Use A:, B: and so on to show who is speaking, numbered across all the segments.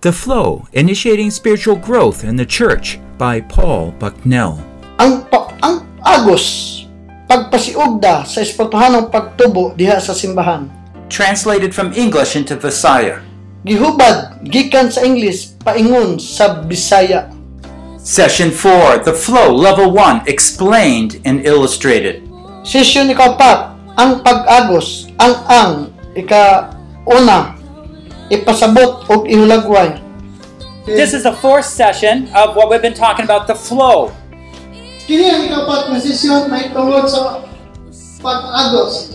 A: The Flow Initiating Spiritual Growth in the Church by Paul Bucknell.
B: ang pa- ang agos pagpasiugda sa espirituhanong pagtubo diha sa simbahan
C: Translated from English into Visaya.
B: gihubad gikan sa English paingon sa Bisaya
C: Session 4 The Flow Level 1 Explained and Illustrated.
B: session ikapat ang pag-agos ang ang ika una ipasabot og ihulagway
D: This is the fourth session of what we've been talking about the flow.
E: Kini ang ikapat na sesyon na itungod sa pag-agos.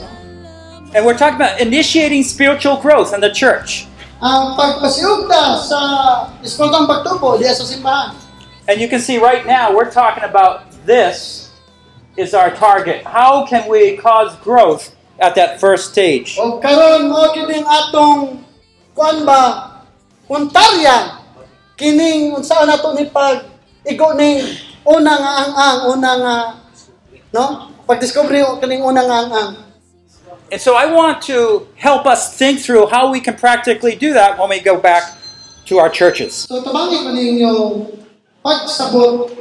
D: And we're talking about initiating spiritual growth in the church.
E: Ang pagpasiugda sa espirituang pagtubo diya sa simbahan.
D: And you can see right now we're talking about this is our target. How can we cause growth at that first stage?
E: O karon mo kining atong kuan ba untarya kining unsa na to ni pag igo ning una nga ang ang una nga no pag discovery kining una nga ang ang
D: And so I want to help us think through how we can practically do that when we go back to our churches.
E: So tabangi ko ninyo pagsabot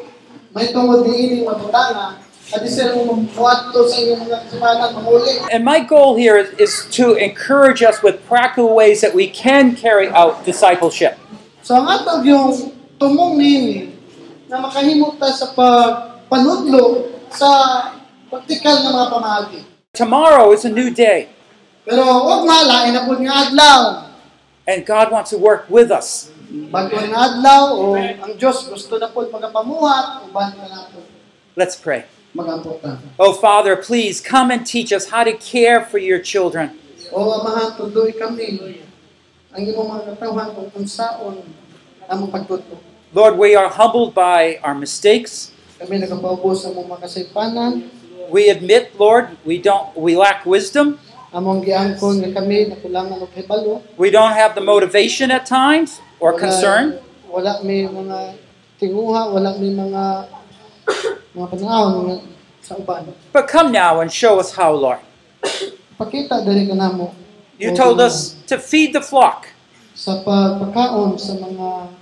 E: may tungod ni ining matutanga at isa mong kuwato sa inyong mga kasimanang mahuli.
D: And my goal here is, is to encourage us with practical ways that we can carry out discipleship.
E: So ang atog yung tumong nini na makahimot ta sa pagpanudlo sa praktikal na mga pamagi.
D: Tomorrow is a new day.
E: Pero huwag mala, inapod nga adlaw.
D: and God wants to work with us.
E: Bago nga adlaw o ang Diyos gusto na po magapamuhat o bago na po
D: Let's pray.
E: magaputa.
D: Oh, Father, please come and teach us how to care for your children.
E: O amahan, tuloy kami ang imong mga katawan kung unsaon ang mong pagtuto.
D: Lord, we are humbled by our mistakes.
E: Kami nagpaubos sa mong makasaypanan,
D: We admit, Lord, we don't we lack wisdom.
E: among giangkon nga kami nakulangan og hibalo.
D: We don't have the motivation at times or
E: Wala-
D: concern.
E: Wala may mga tinguha, wala may mga mga panahon nga sa uban.
D: But come now and show us how, Lord.
E: Pakita dali ka namo
D: You told us to feed the flock.
E: sa pagpakaon sa mga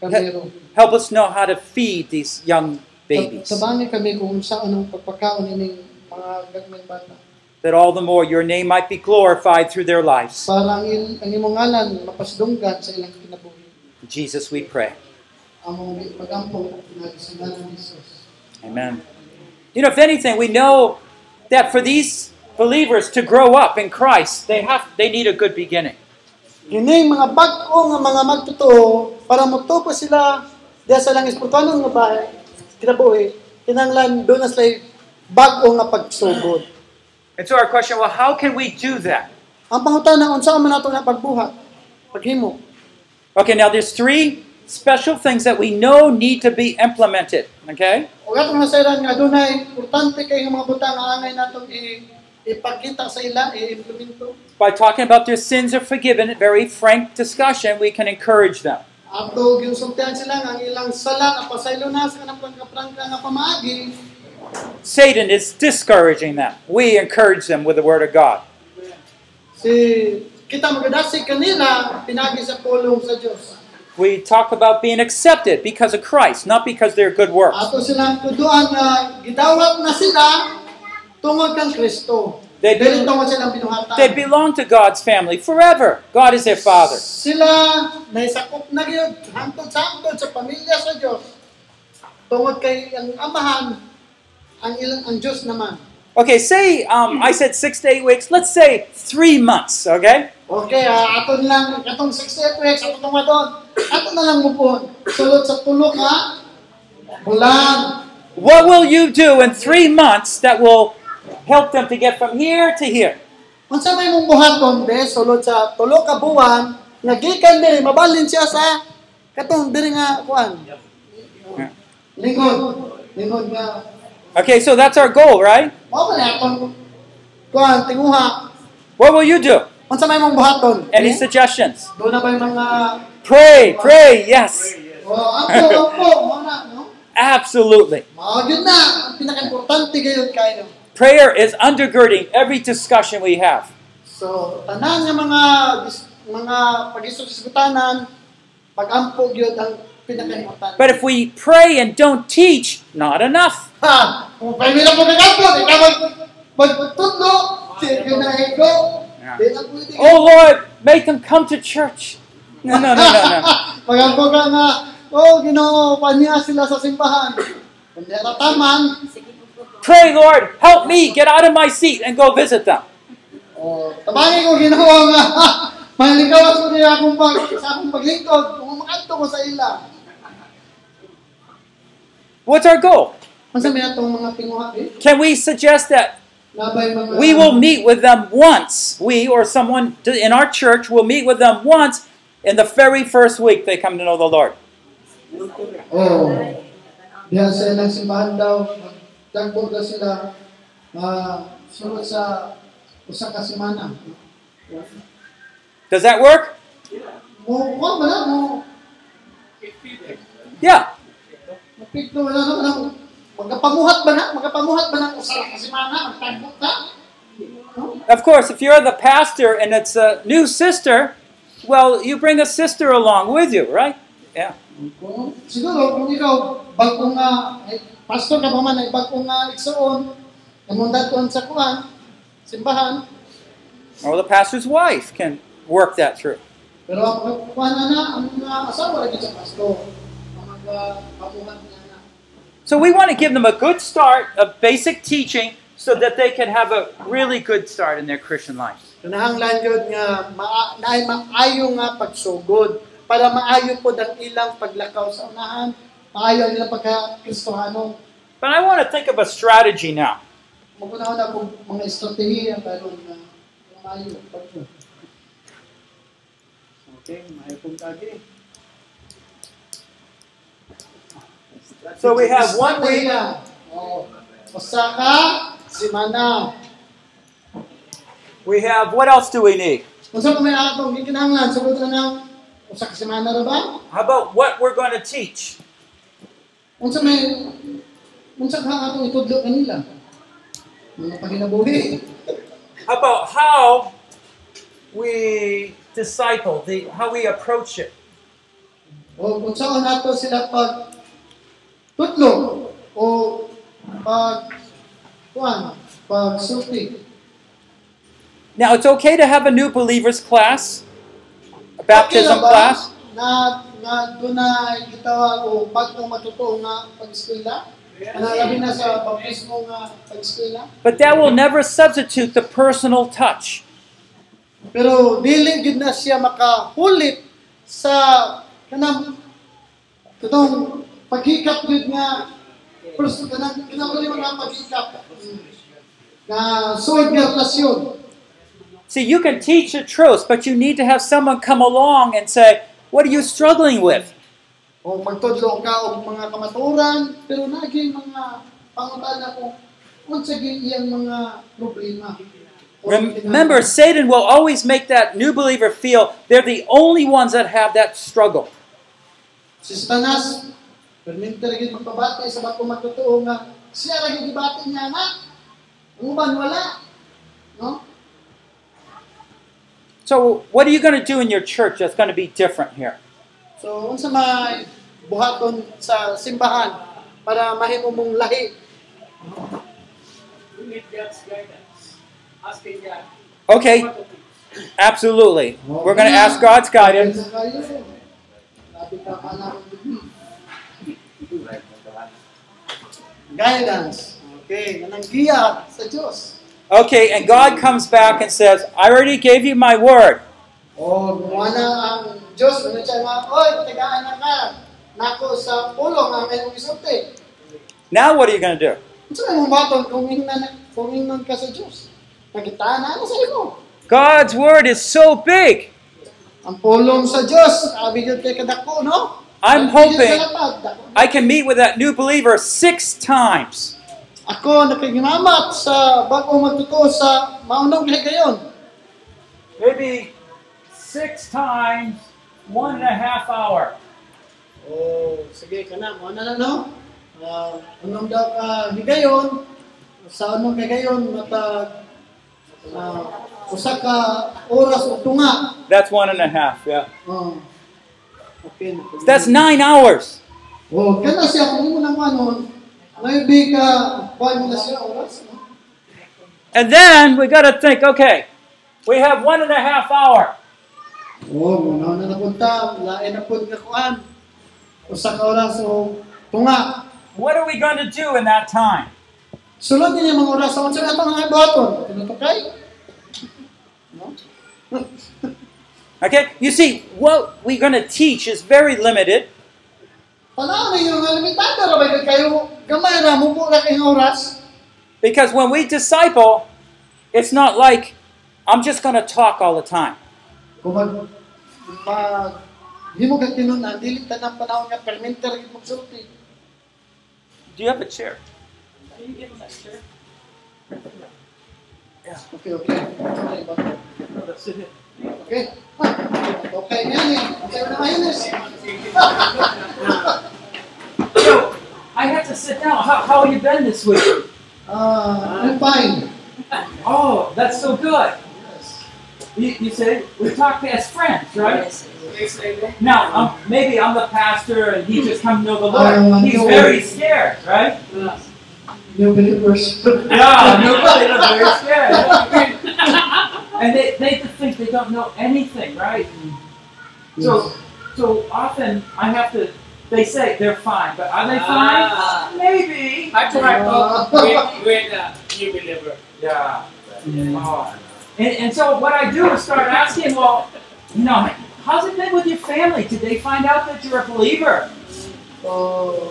E: kamero.
D: Help us know how to feed these young babies.
E: Tabangi kami kung saan ang pagpakaon ining mga gagmay bata.
D: That all the more your name might be glorified through their lives.
E: Para ang, il- ang imong ngalan mapasdunggan sa ilang kinabuhi.
D: Jesus, we pray.
E: Among pag-ampong at pinagsinan ni Jesus.
D: Amen. You know, if anything, we know that for these believers to grow up in Christ, they have they need a good beginning.
E: Kini mga bag-o nga mga magtotoo para magtupo sila diya sa lang espiritualon nga bahay kinabuhi kinanglan doon na sila bag-o nga pagsugod.
D: And so our question, well, how can we do that?
E: Ang pangutana unsa man nato na pagbuhat? Paghimo.
D: Okay, now there's three special things that we know need to be implemented. Okay?
E: O atong nasayran nga dunay importante kay nga mga butang nga angay natong i- ipakita sa ila i-implemento.
D: By talking about their sins are forgiven, a very frank discussion, we can encourage them.
E: Ato ginsultihan sila nga ang ilang sala nga pasaylo na sa kanang prangka-prangka nga pamaagi
D: Satan is discouraging them. We encourage them with the word of God.
E: si kita magadasi kanila pinagi sa pulong sa Dios.
D: We talk about being accepted because of Christ, not because of their good works.
E: Ato silang tuduan nga gidawat na sila tungod kang Kristo.
D: They-
E: Dili tungod silang binuhatan.
D: They belong to God's family forever. God is their father.
E: Sila naisakop na gyud hangtod sa hangtod sa pamilya sa Dios. Tungod kay ang amahan ang ilang ang Dios naman.
D: Okay, say um, I said six to eight weeks. Let's say three months. Okay,
E: Okay, ah, aton lang atong 68 weeks aton tungod doon. Aton na lang mupon. Sulod sa tulo ka bulan.
D: what will you do in three months that will help them to get from here to here?
E: Unsa may mong buhaton be sulod sa tulo ka buwan nga gikan diri mabalin siya sa katong diri nga kuan. Lingkod. Lingkod nga
D: Okay, so that's our goal, right?
E: mao man atong kuan tinguha.
D: What will you do?
E: Unsa may mong buhaton?
F: Eh,
D: Any suggestions?
E: Do na ba yung mga
D: Pray, pray. Yes,
E: oh, ampo, ampo, mao na, no?
D: absolutely.
E: Mao gyud na ang pinakaimportante gayud kayo.
D: Prayer is undergirding every discussion we have.
E: So, tanan nga mga dis- mga pag-isog sa Pagampo gyud ang pinakaimportante.
F: But if we pray and don't teach, not enough.
E: Ha! Kung pa nila po nagato, ikaw mag magtutlo, yun na ego. Di na pwede.
F: Oh Lord, make them come to church. No, no, no, no, no.
E: Magampo ka nga, oh, ginoo, paniya sila sa simbahan. Kung di taman,
F: Pray, Lord, help me get out of my seat and go visit them.
E: oh, tabangi ko ginoo nga, malikawas ko niya akong pag, sa akong paglingkod, kung makanto ko sa ila.
F: What's our goal?
E: Masa may atong mga tinguha eh?
F: Can we suggest that
E: Nabay mga...
F: we will meet with them once? We or someone to- in our church will meet with them once in the very first week they come to know the Lord.
E: Oo. Oh. Diyan sa ilang simbahan daw, tagpo daw sila ah, sunod sa usa ka semana.
F: Does that work?
E: Mo ko man mo
F: Yeah.
E: mapigto wala na na magkapamuhat ba na magkapamuhat ba na usa ka semana ang tagpo ta? No?
F: Of course, if you're the pastor and it's a new sister, well, you bring a sister along with you, right? Yeah.
E: Kung, Oh, siguro kung ikaw bagong nga eh, pastor ka pa man ay bagong ah, nga igsoon imundan kon sa kuan simbahan
F: Or the pastor's wife can work that through.
E: Pero ang pagkukuha na na, ang mga asawa lagi sa pasto. Ang mga kapuhan niya na.
F: So we want to give them a good start of basic teaching so that they can have a really good start in their Christian life.
E: Kanahanglan yun nga, maa, na ay maayo nga pagsugod para maayo po ang ilang paglakaw sa unahan, maayo ang ilang pagka-Kristohano.
F: But I want to think of a strategy now.
E: Magunahon na po mga estratehiya karon na maayo. Okay, maayo pong kage.
F: So we have one week.
E: Estratehiya. Oo. Usa ka, semana.
F: We have what else do we need?
E: Unsa pa may atong gikinahanglan sugod na ng usa ka semana ra ba?
F: How about what we're going to teach?
E: Unsa may unsa ka atong itudlo kanila? Mga paginabuhi.
F: How about how we disciple the how we approach it?
E: O unsa on ato sila pag tudlo o pag kuan pag sulti.
F: Now it's okay to have a new believers class, a
E: Okay na
F: baptism
E: ba
F: class.
E: Na na dunay gitawag o bagong matutuo nga pag-eskwela. Ana labi na sa baptismo nga pag-eskwela.
F: But that will never substitute the personal touch.
E: Pero dili gid na siya makahulit sa kanang katong paghikap gid nga first kanang kanang dili man paghikap na suwid nga relasyon.
F: See, you can teach the truth, but you need to have someone come along and say, What are you struggling with?
E: O magtudlo ka og mga kamaturan pero naging mga pangutana ko unsa gyud iyang mga problema. O,
F: Remember, Satan will always make that new believer feel they're the only ones that have that struggle.
E: si Satanas perminta lagi magpabati sa bato matutuo nga siya lagi gibati niya na ang uban wala no
F: So, what are you going to do in your church that's going to be different here?
E: so unsa may buhaton sa simbahan para mahimo mong lahi
F: Okay, absolutely. We're going to ask God's guidance.
E: Hmm. guidance okay nang giya sa Dios
F: Okay, and God comes back and says, I already gave you my word.
E: o wala ang Dios ano siya nga oy tagaan na ka nako sa pulong ang imong isulti
F: Now, what are you going to do?
E: Ito na mong baton, kung ingnan, kung ingnan ka sa Diyos. Nagitaan na, ano sa ikaw?
F: God's word is so big.
E: Ang pulong sa Diyos, sabi Diyos kay kadako, no?
F: I'm
E: Sabi Diyos
F: hoping
E: sa lapad, dako.
F: I can meet with that new believer six times.
E: Ako, nakikimamat sa bagong magtuto sa maunong higayon.
F: maybe six times one and a half hour.
E: Oh, sige ka na, mauna na, no? Ah, unong daw ka higayon, sa unong higayon, matag, ah, usa ka oras o tunga.
F: That's one and a half, yeah.
E: Oh.
G: That's nine hours.
E: O, kaya Oh, siya kung unang ano, maybe ka, kuhan na siya oras. No?
G: And then we got to think okay, we have one and a half hour.
E: O, muna Oh, na napunta, lain na po nga kuhan. Usa ka oras, o, tunga.
G: What are we going to do in that time?
E: Sulod din yung mga oras, o, saan ito nga ibaton? Tinutukay? No?
G: Okay? You see, what we're going to teach is very limited.
E: Panahon na yung nga limitado, rabay ka kayo, gamay ra, mubo ra kayong oras.
G: Because when we disciple, it's not like I'm just going to talk all the time.
E: Kung mag, mag, di mo ka kinunan, dili ka ng panahon nga, perminter, yung magsulti.
G: Do you have a chair?
E: Okay, okay. Okay. Okay, yan eh. Okay, na eh. ayun
G: I had to sit down. How, how have you been this week?
E: Ah, I'm fine.
G: Oh, that's so good. You, you say we talk as friends, right? Now, um, maybe I'm the pastor and he just come to know the
E: Um,
G: Lord. He's
E: no.
G: very scared, right?
E: New believers.
G: Yeah, no, they look very scared. and they, they just think they don't know anything, right? So, so often I have to. They say they're fine, but are they fine?
F: Ah.
G: Maybe. Yeah. Oh. And, and so what I do is start asking, well, you know, how's it been with your family? Did they find out that you're a believer?
E: Oh.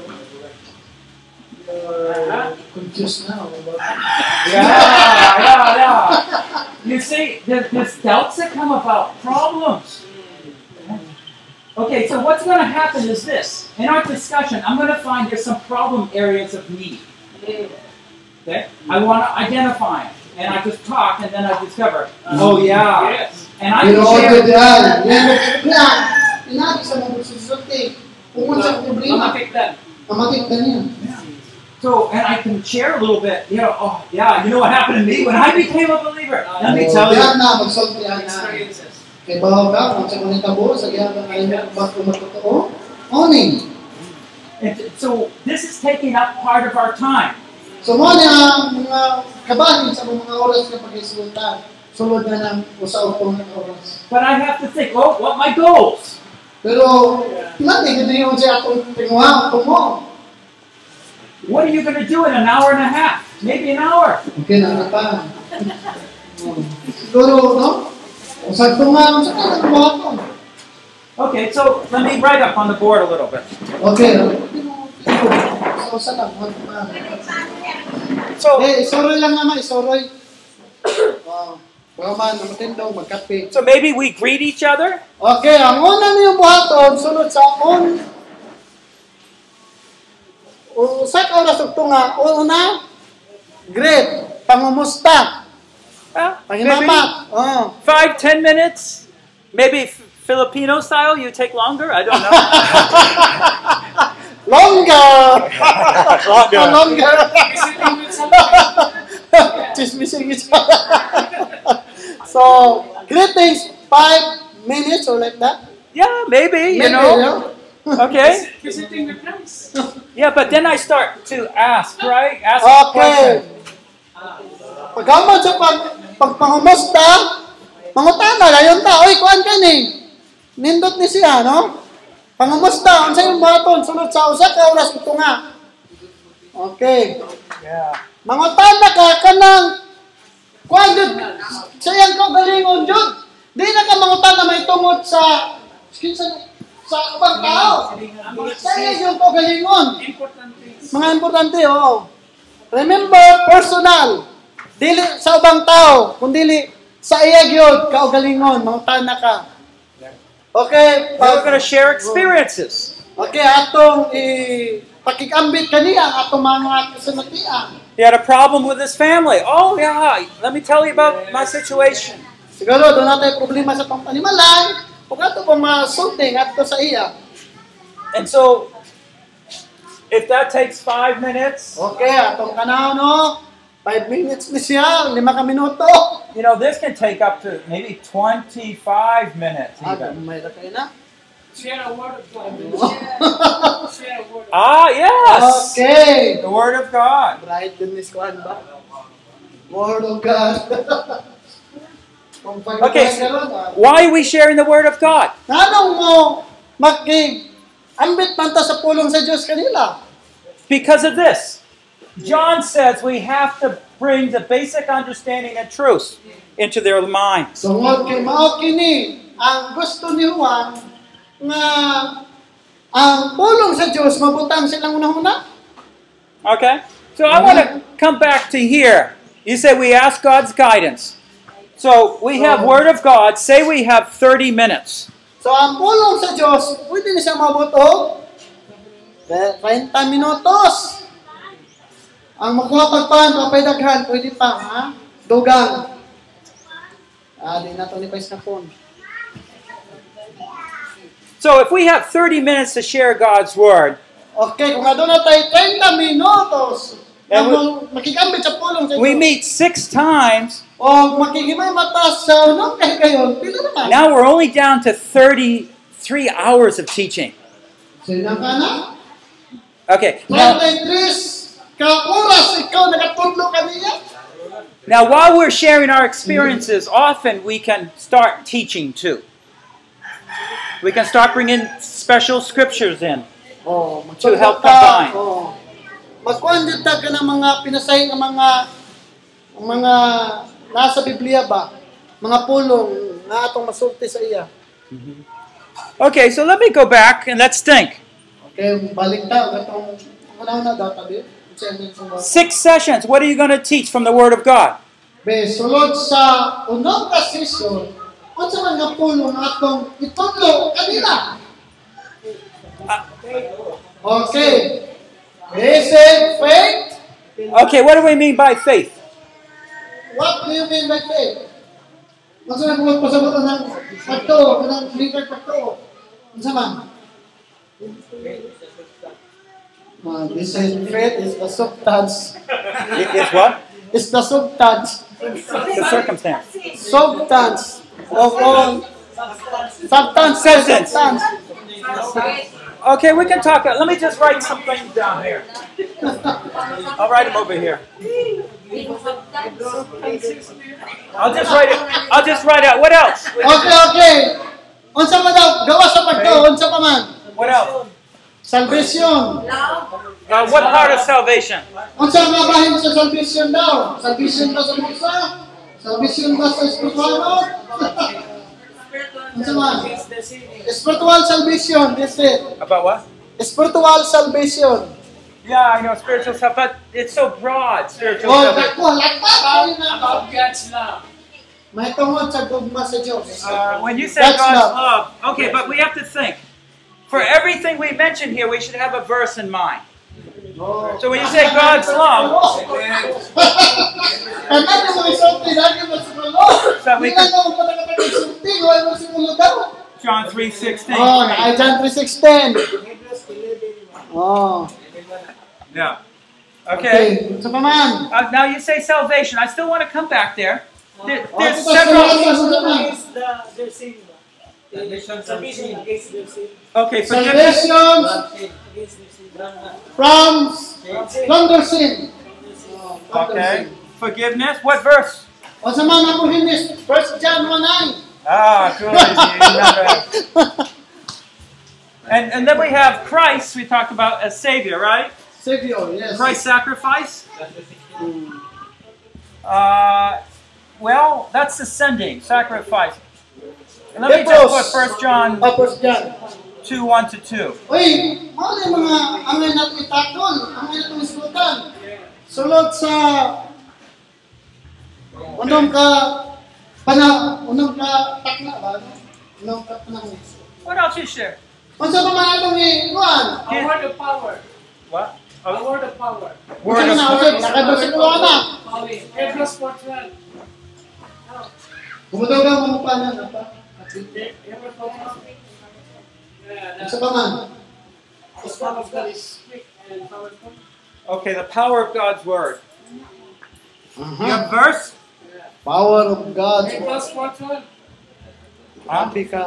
E: Uh, confused now. But,
G: Yeah, yeah, yeah. You see, there's, there's doubts that come about, problems. Okay, so what's going to happen is this. In our discussion, I'm going to find there's some problem areas of need. Okay? I want to identify them. And I just talk, and then I discover, oh, yeah. And I
E: you
G: can
E: know,
G: share
E: good yan. Yan, yan. Inabi sa mga susulti. Pumunta sa problema. Kamatik ka niya.
G: So, and I can share a little bit, you know, oh, yeah, you know what happened to me when I became a believer? Let me tell you.
E: Yan na, magsulti yan na. Kay bahaw ka, kung sa kanita buo, sa gaya ka kayo, ba't kumatotoo? Morning.
G: And th- so, this is taking up part of our time.
E: So mo na ang mga kabahin sa mga oras na pag-isulta, sulod na ng usaw ko ng oras.
G: But I have to think, oh, what my goals?
E: Pero, pinati, ganda yung siya akong pinguha ko mo.
G: What are you going to do in an hour and a half? Maybe an hour.
E: Okay, na na pa. Hmm. Siguro, no? Usag ko nga, sa ka nang buha ko.
G: Okay, so let me write up on the board a little bit.
E: Okay, so usag lang, buhat pa.
G: So,
E: Eh, isoroy lang naman, isoroy. Wow. Pero man, ang matindog, magkape.
G: so maybe we greet each other.
E: Okay, ang una niyong buhaton, sunod sa on. Usa ka oras ug tunga, una, great, pangumusta,
G: Huh? Maybe
E: pangimamat. Oh.
G: five, ten minutes. Maybe F- Filipino style, you take longer. I don't know.
E: Longer. Longer. Longer. Chismising isa. so, greetings, five minutes or like that.
G: yeah, maybe, you
E: Maybe,
G: know.
E: yeah.
G: Okay. Yeah, but then I start to ask, right? Ask
E: Okay.
G: questions.
E: Pagkaman sa pag, pagpangumusta, mangutana, layon ta, oy, kuan ka ni. Nindot ni siya, no? Pangumusta, unsa yung baton, sunod sa usa ka oras ito nga. Okay.
G: Yeah.
E: Mangutana ka kanang kuan jud. Sayang ka galingon jud. Di na ka mangutana may tungod sa sa sa ubang tao. Sayang yung kagalingon. Mga importante, oo. Remember, personal. Dili sa ubang tao, kundi sa iya gyud kaugalingon, mga tana ka. Okay,
G: We're
E: pag,
G: going to share experiences.
E: okay, atong i pakikambit kaniya ang atong mga kasinatian.
G: He had a problem with his family. Oh, yeah. Let me tell you about my situation.
E: Siguro doon natin problema sa tong panimalay, ug ato pang mga sulting adto sa iya.
G: And so, if that takes five minutes,
E: Okay, atong kanao no. 5 minutes ni siya, lima ka minuto.
G: you know, this can take up to maybe 25 minutes
E: Ato
G: even.
E: may lakay na.
G: Ah, yes.
B: Okay.
G: The Word of God.
E: Bright yun, Miss Kuan ba?
B: Word of God. Kung pag-
G: Okay.
B: Karon, ah,
G: Why are we sharing the Word of God?
E: Nanong mo magig ambit man ta sa pulong sa Diyos kanila.
G: Because of this. John says we have to bring the basic understanding and truth into their minds.
E: Tungod kay mao kini ang gusto ni Juan nga ang pulong sa Diyos mabutang silang una-una.
G: Okay? So I want to come back to here. You say we ask God's guidance. So we have Word of God. Say we have 30 minutes.
E: So ang pulong sa Diyos, pwede na siya mabuto. 30 minutos. Ang makuha pagpaan, papaydaghan, pwede pa, ha? Dugang. Ah, di na to ni Pais na phone.
G: So if we have 30 minutes to share God's Word,
E: Okay, kung aduna tayo 30 minutos,
G: Eh,
E: na
G: we-
E: mo- makikambit sa pulong sa Diyos.
G: we meet six times.
E: O makikimay mata sa unang kayo kayon, pila naman.
G: Now we're only down to 33 hours of teaching.
E: Sila ka na?
G: Okay. Now,
E: 33 ka oras ikaw nakatulog kanina?
G: now while we're sharing our experiences, often we can start teaching too. We can start bringing special scriptures in.
E: Oh,
G: To help combine.
E: Oh. Magkwandit ta ka ng mga pinasay ng mga ang mga nasa Biblia ba? Mga pulong na atong masulti sa iya.
G: Okay, so let me go back and let's think.
E: Okay, balik ta atong una-una daw tabi. Be,
G: Six sessions. What are you going to teach from the Word of God?
E: sulod sa unang kasisyon, unsa man nga pulong atong itudlo kanila?
G: Ah.
E: Okay. Basic faith.
G: Okay, what do we mean by faith?
E: What do you mean by faith? Masa na kung magpasabot ng pagtuo, ng literal pagtuo. Ang sama. Uh, this is faith is the substance.
G: It is what?
E: It's the substance.
G: The circumstance.
E: Substance of all. Substance.
G: Substance.
E: Substance.
G: Okay, we can talk. Let me just write some things down here. I'll write them over here. I'll just write it. I'll just write out. What else?
E: Okay, okay. Unsa pa daw? Gawa sa pagtuo, unsa pa man?
G: What else?
E: Salvation.
G: Uh, what part of salvation?
E: Unsa ang mabahin sa salvation daw? Salvation ba sa bulsa? Salvation ba sa espiritual? Unsa man? Spiritual salvation, this it.
G: About what?
E: Spiritual salvation.
G: Yeah, I know spiritual stuff, but it's so broad. Spiritual
E: Oh,
G: stuff.
E: dako, lakpat kayo na. May tungod sa dugma sa Diyos.
G: Uh, when you say
E: That's
G: God's
E: love.
G: love, okay, but we have to think. For everything we mention here, we should have a verse in mind. So when you say God's love,
E: Kanan yung mga isulti, lagi mo sa mulo.
G: Sa-
E: Hindi na mo patakatag isulti, huwag mo sa mulo daw.
G: John three sixteen.
E: Oh, na John 3.16. Oh,
G: Yeah.
E: okay.
G: Okay.
E: Sa paman.
G: Uh, now you say salvation. I still want to come back there. There-
E: Oh,
G: there's
E: ito sa
G: several.
E: sa paman.
G: Okay, forgiveness.
E: Salvation from from their sin. From their
G: Okay.
E: sin.
G: Forgiveness. What verse?
E: O sa mga nabuhinis, 1 John 1.9.
G: Ah, good. You remember. and, and then we have Christ, we talked about as Savior, right?
E: Savior, yes.
G: Christ's sacrifice. Uh, well, that's ascending, sacrifice. And let me just put
E: Hebrews.
G: 1 John
E: Ah, 1 John.
G: 2 1 to 2.
E: Uy, mao na yung mga angay natin itakon, angay natin isutan. Sulod sa unong ka pana unong ka takna ba? ano? Unong ka panahon.
G: What else you share?
E: Unsa pa man atong iwan?
G: What? Oh,
E: Word of God. Nakabasiklo ka na. Kumutaw ka mga panan na pa. Unsa pa man?
G: okay, the power of God's word. You have verse?
E: Power of
H: Eh,
E: God's word.
G: Huh?
E: Pika.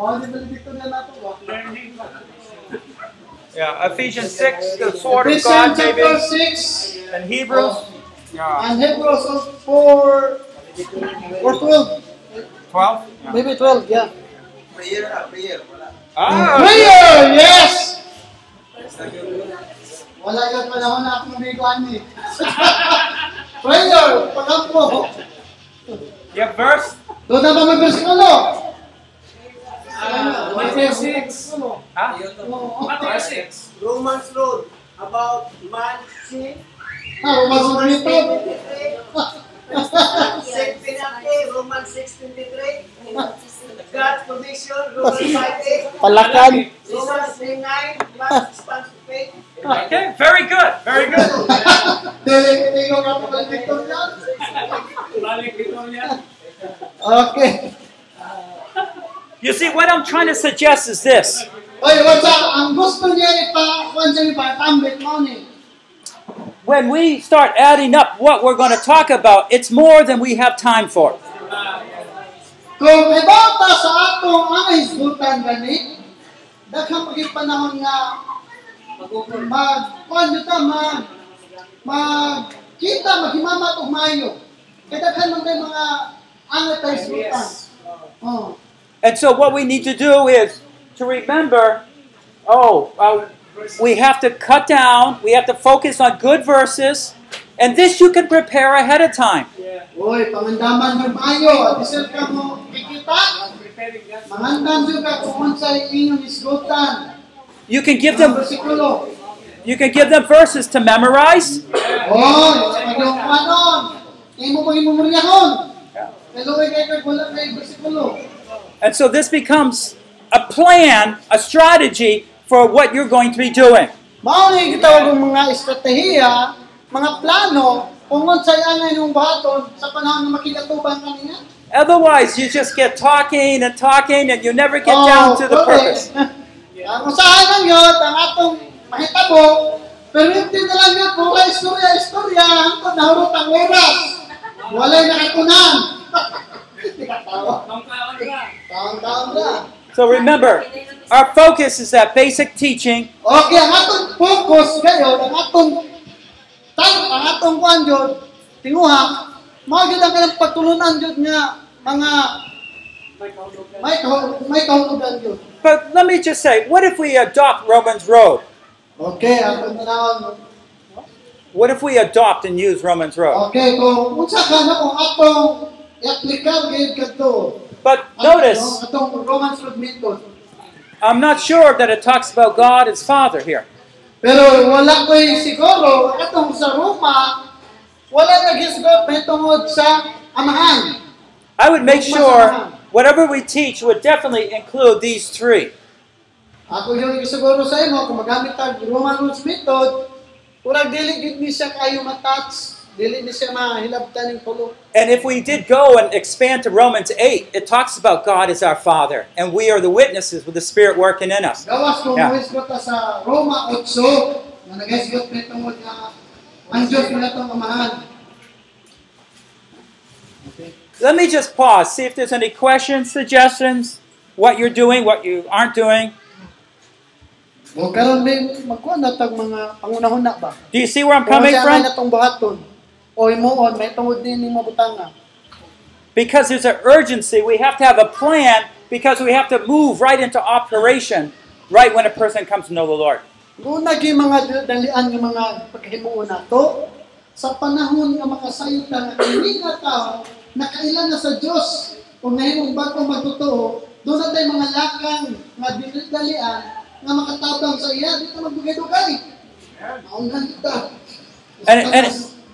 E: Mao ni valedictorian nato ba?
F: Yeah, Ephesians 6, the sword of
E: Ephesians
F: God,
E: chapter
F: maybe,
E: 6
F: and Hebrews. Yeah,
E: and Hebrews 4 or 12,
F: 12. Yeah.
E: maybe 12, yeah.
F: Ah,
E: Prayer, yes! Wala ka panahon na akong biguan ni. Prayer, pangako.
F: yeah, verse.
E: Doon na ba may verse ulo?
F: Huh?
I: Romans Road about man sin,
E: Ah, umasok dito.
I: sin penalty, Romans 6.23, God's commission, Romans 5.8,
E: Palakan.
I: Romans 3.9, man's response to faith,
F: Okay, very good, very good.
E: Dili-dili ko ka valedictorian. Okay.
F: You see, what I'm trying to suggest is this.
E: Oy, what's up? Ang gusto niya ni pa, kung siya ni pa, tambit mo ni.
F: When we start adding up what we're going to talk about, it's more than we have time for.
E: Kung ibata sa atong ang hisgutan gani, daghang pagit panahon nga mag kuan ta mag mag kita maghimama og maayo. Kay daghan man tayo mga angat tayo hisgutan. Oh.
F: And so, what we need to do is to remember oh, uh, we have to cut down, we have to focus on good verses, and this you can prepare ahead of time.
E: Oy, pangandaman jud maayo, bisan ka mo kikita. Mangandam jud ka kung unsay inyong hisgutan.
F: You can give
E: Ang
F: them,
E: bersikulo.
F: you can give them verses to memorize,
E: Oh, ano kanon? Imo mo imumuriyahon. Pero kay kay kay wala kay bersikulo.
F: and so this becomes a plan, a strategy for what you're going to be doing.
E: Mao ni gitawag og mga estratehiya, mga plano kung unsay ang inyong buhaton sa panahon nga makigatuban kaniya.
F: Otherwise, you just get talking and talking, and you never get
E: Oh,
F: down to the purpose.
E: Ang usahay lang yun, ang atong mahitabo, pero hindi na lang yun, wala istorya, istorya, hangtod nahurot ang oras. Walay nakatunan. Taon-taon lang.
F: So remember, our focus is that basic teaching
E: Okay, ang atong focus ngayon, ang atong tayo, ang atong kuan jud, tinguha, mao gyud ang kanang pagtulunan jud nga mga may kahulugan. May kahulugan jud.
F: But let me just say, what if we adopt Romans Road?
E: Okay, ang panahon.
F: What if we adopt and use Romans Road?
E: Okay, kung unsa ka na kung atong i-applicable gyud kadto.
F: But
E: Ang- ano,
F: notice,
E: atong Romans road method.
F: I'm not sure that it talks about God as Father here.
E: Pero wala ko'y siguro, atong sa Roma, wala nag-isgot may tungod sa amahan.
F: I would make sure whatever we teach would definitely include these three.
E: Ako yung siguro sa imo, kung magamit ang Roman rules method, kurang dili gid ni siya kayo matats, dili ni siya mahilabtan ng pulo.
F: And if we did go and expand to Romans 8, it talks about God as our Father, and we are the witnesses with the Spirit working in us.
E: Gawas kung
F: Yeah.
E: yeah. ta sa Roma 8, na nag-isgot may tungod na ang Diyos nila itong amahan.
F: Let me just pause, see if there's any questions, suggestions, what you're doing, what you aren't doing.
E: O karon may magkuhan na tag mga pangunahon na ba?
F: Do you see where I'm coming
E: Kung
F: from?
E: na itong buhaton, o imuon, may tungod din ni mabutanga.
F: Because there's an urgency, we have to have a plan because we have to move right into operation right when a person comes to know the Lord.
E: Muna gyud yung mga dalian yung mga paghimuon nato sa panahon nga makasayod na nga kini nga tao nakailan na sa Dios kung nahimong bago magtotoo doon na tayo mga lakang nga dalian nga makatabang sa iya dito magbugay-dugay. Maunghan kita.
F: And, and,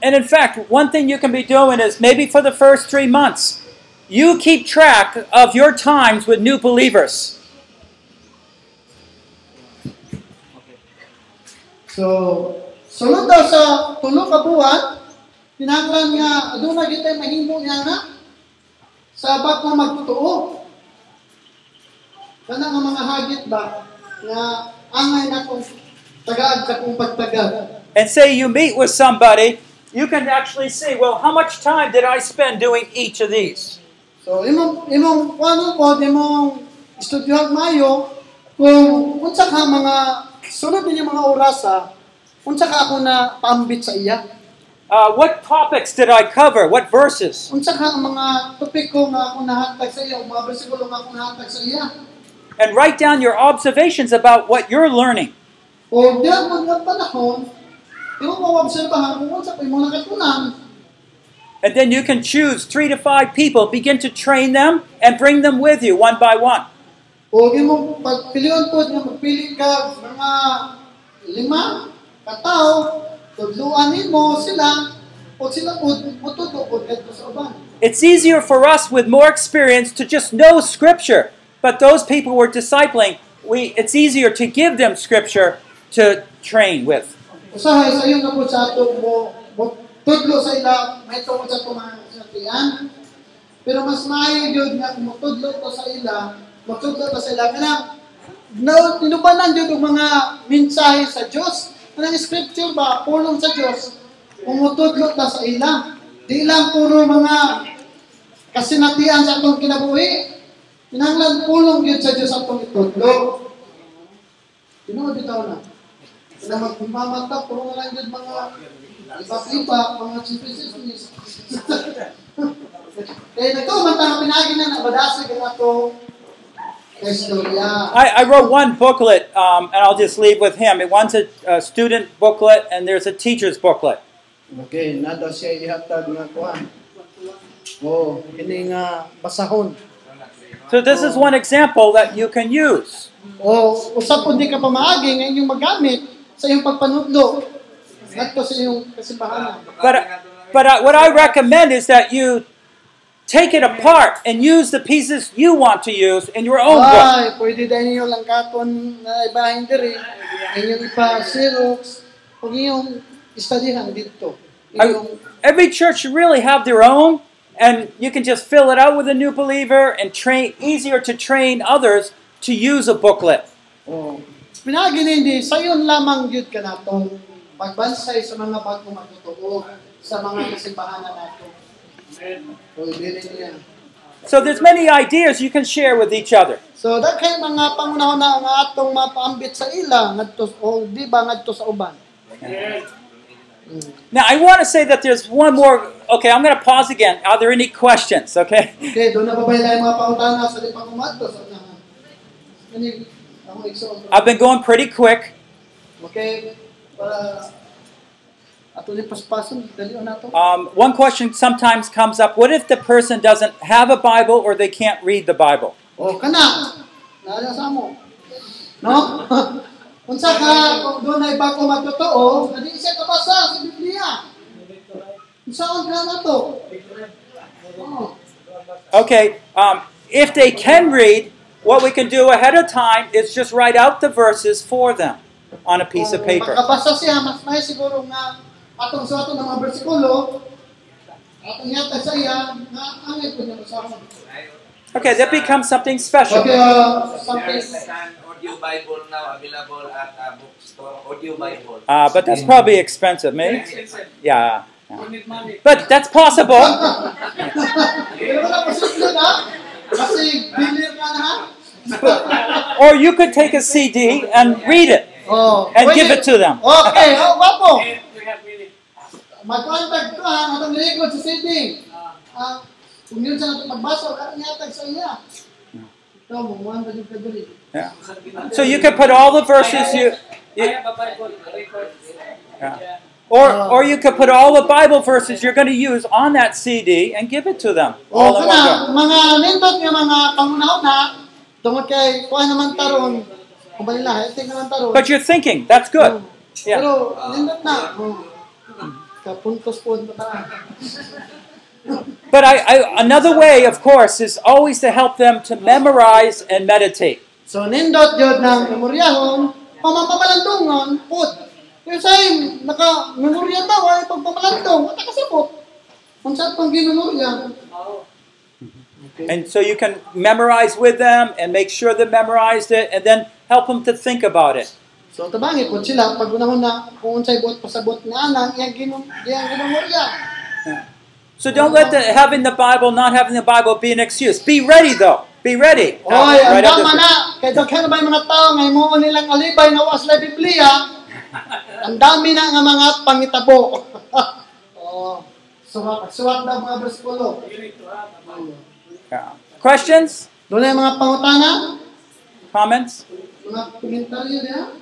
F: and in fact, one thing you can be doing is maybe for the first three months, you keep track of your times with new believers.
E: So, sunod daw sa tulo ka buwan, tinanglan nga aduna kita mahimo niya na sa bago magtotoo. Kana nga mga hagit ba nga angay na kong tagaag sa kong pagtagad.
F: And say you meet with somebody, you can actually see, well, how much time did I spend doing each of these?
E: So, imong, imong, ano po, imong studyohan maayo, kung unsa ka mga, sunod niya mga orasa, unsa ka ako na paambit sa iya,
F: Uh, what topics did I cover? What verses?
E: unsa ka ang mga topiko nga ako nahatag sa iya, o mga bersikulo nga ako nahatag sa iya.
F: And write down your observations about what you're learning.
E: O diyan mo nga panahon, imo mo obserbahan kung unsa pa imong nakatunan,
F: And then you can choose three to five people, begin to train them, and bring them with you one by one.
E: o imo pagpilion po nga magpili ka mga lima ka tawo, tudluan nimo sila o sila po mututo po kadto sa uban.
F: It's easier for us with more experience to just know Scripture, but those people we're discipling, we, it's easier to give them Scripture to train with.
E: Usahay sa iyo na po sa ato mo, mo tudlo sa ila, may tungod sa mga sinatian. Pero mas maayo yun nga kung tudlo ko sa ila, magtudlo ko sa ila. Kaya na, tinubanan yun ang mga mensahe sa Diyos. Anong scripture ba? Pulong sa Diyos. Kung mutudlo ta sa ila. Di lang puro mga kasinatian sa atong kinabuhi. Kinanglan pulong yun sa Diyos atong itudlo. Tinuod bitaw na na magmamata, puro na lang yun mga iba-iba, mga chismis-chismis. Kaya nagkumanta ang pinagin na nabadasig ang ato istorya.
F: I, I wrote one booklet, um, and I'll just leave with him. It one's a, a student booklet, and there's a teacher's booklet.
B: Okay, nada siya ihatag nga kuan. Oh, kini nga basahon.
F: So this is one example that you can use.
E: O usap hindi ka pa maagi ng inyong magamit sa iyong pagpanudlo. Nagto sa iyong kasimbahanan.
F: But, but uh, what I recommend is that you take it apart and use the pieces you want to use in your own book.
E: Ay, pwede dahil ninyo lang katon na ibahin diri. Inyong ipa-xerox. Huwag iyong istudyhan dito. Inyong
F: Every church should really have their own, and you can just fill it out with a new believer and train easier to train others to use a booklet.
E: Oh. Pinagi na hindi, sa iyon lamang yun ka na to. Pagbansay sa mga bagong matutuog, sa mga kasimbahan na nato. Amen. niya.
F: So there's many ideas you can share with each other.
E: So, dakay mga pangunahon na ang atong mapaambit sa ila, ngadto, o di ba ngadto sa uban.
F: Now, I want to say that there's one more. Okay, I'm going to pause again. Are there any questions? Okay.
E: Okay, doon na babay lang mga pautana sa di pa kumadto sa unahan. Kani, ako iksoon.
F: I've been going pretty quick.
E: Okay, para ato ni paspason, dali na to.
F: Um, one question sometimes comes up what if the person doesn't have a Bible or they can't read the Bible?
E: O kana, naala sa mo. No? Unsa ka kung doon ay bago magtotoo, hindi siya kabasa sa Biblia. Unsaon ka na to? Oh.
F: Okay, um, if they can read, what we can do ahead of time is just write out the verses for them on a piece of
E: Kung
F: paper.
E: Makabasa siya, mas may siguro nga atong sa atong mga bersikulo, atong yata sa iya, nga angay po niya sa akin.
F: Okay, that becomes something special.
E: Okay, uh, something.
J: There's an audio Bible now available at a bookstore. Audio Bible.
F: Uh, but that's probably expensive, maybe? Yeah.
G: We need money.
F: But that's possible.
E: Pero wala po siya na, kasi bilir ka na ha?
F: Or you could take a CD and read it
E: Oh,
F: and give
E: pwede.
F: it to them.
E: Okay, oh, wapo.
G: We have really.
E: Mag-contact ko ha, atong likod sa city. Ah, kung yun sa natong pagbasa, wala niya tag sa iya. Ikaw, mamuhan ba yung kadali?
F: So you can put all the verses you,
G: I have a Bible record.
F: Yeah. or or you could put all the Bible verses you're going to use on that CD and give it to them.
E: O
F: All in one
E: kana,
F: go.
E: mga nindot nga mga pangunahon na, tungod kay kuha naman taron, kung balila, hiting naman taron.
F: But you're thinking that's good. Yeah.
E: Pero, nindot na. Oh. Kapuntos po ang tataan.
F: But I, I another way, of course, is always to help them to memorize and meditate.
E: So, nindot yun ng memoryahon, pamamalandungon, put. Kaya sa'yo, naka-memorya daw, ay pagpamalandong, wala ka sabot. Kung saan pang ginumorya,
F: And so you can memorize with them and make sure they memorized it, and then help them to think about it.
E: So tabangi po sila pag unahon na kung unsay buot pasabot nga anan iyang ginom iyang ginomorya.
F: So don't let the having the Bible, not having the Bible be an excuse. Be ready though. Be ready.
E: Oy, ang
F: Right after-
E: dama na. Kay daghan ba yung mga tao ngay mo nilang alibay nga wa sila Biblia. Ang dami na nga mga pangitabo. oh, suwat suwat na mga bersikulo.
F: Yeah. Questions?
E: Doon ay mga pangutana,
F: Comments?
E: mga komentaryo niya.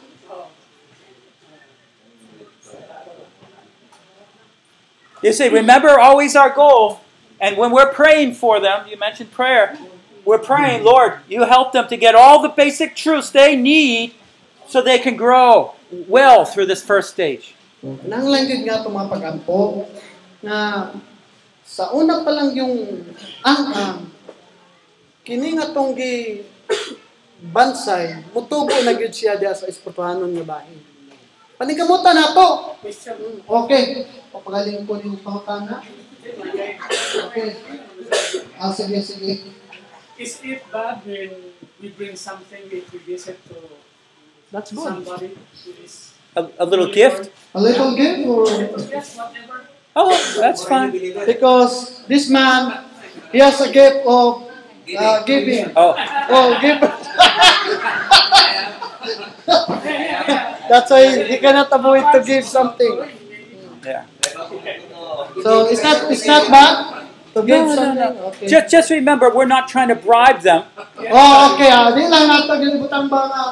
F: You see, remember always our goal. And when we're praying for them, you mentioned prayer, we're praying, Lord, you help them to get all the basic truths they need so they can grow well through this first stage.
E: Nang langgit nga itong mga pag-ampo na sa una pa lang yung ang-ang, kini nga tong gi bansay, mutubo na gyud siya diya sa espirituhanon nga bahin. Paningkamutan na to. Mm. Okay. Papagaling ko yung pangutana. Okay. Ah, sige, sige.
H: Is it bad when we bring something that we visit to
E: That's good.
H: somebody who is
F: A, a little gift?
E: A little game or...
H: yes, whatever?
F: Oh, that's fine.
E: Because this man, he has a gift of uh, giving.
F: Oh,
E: Oh, give. That's why he cannot avoid to give something.
F: yeah.
E: So it's not it's not bad to give
F: no,
E: something.
F: no.
E: Okay.
F: Just, just remember, we're not trying to bribe them.
E: Oh, okay. Ah, di lang nato ginibutan ba nga.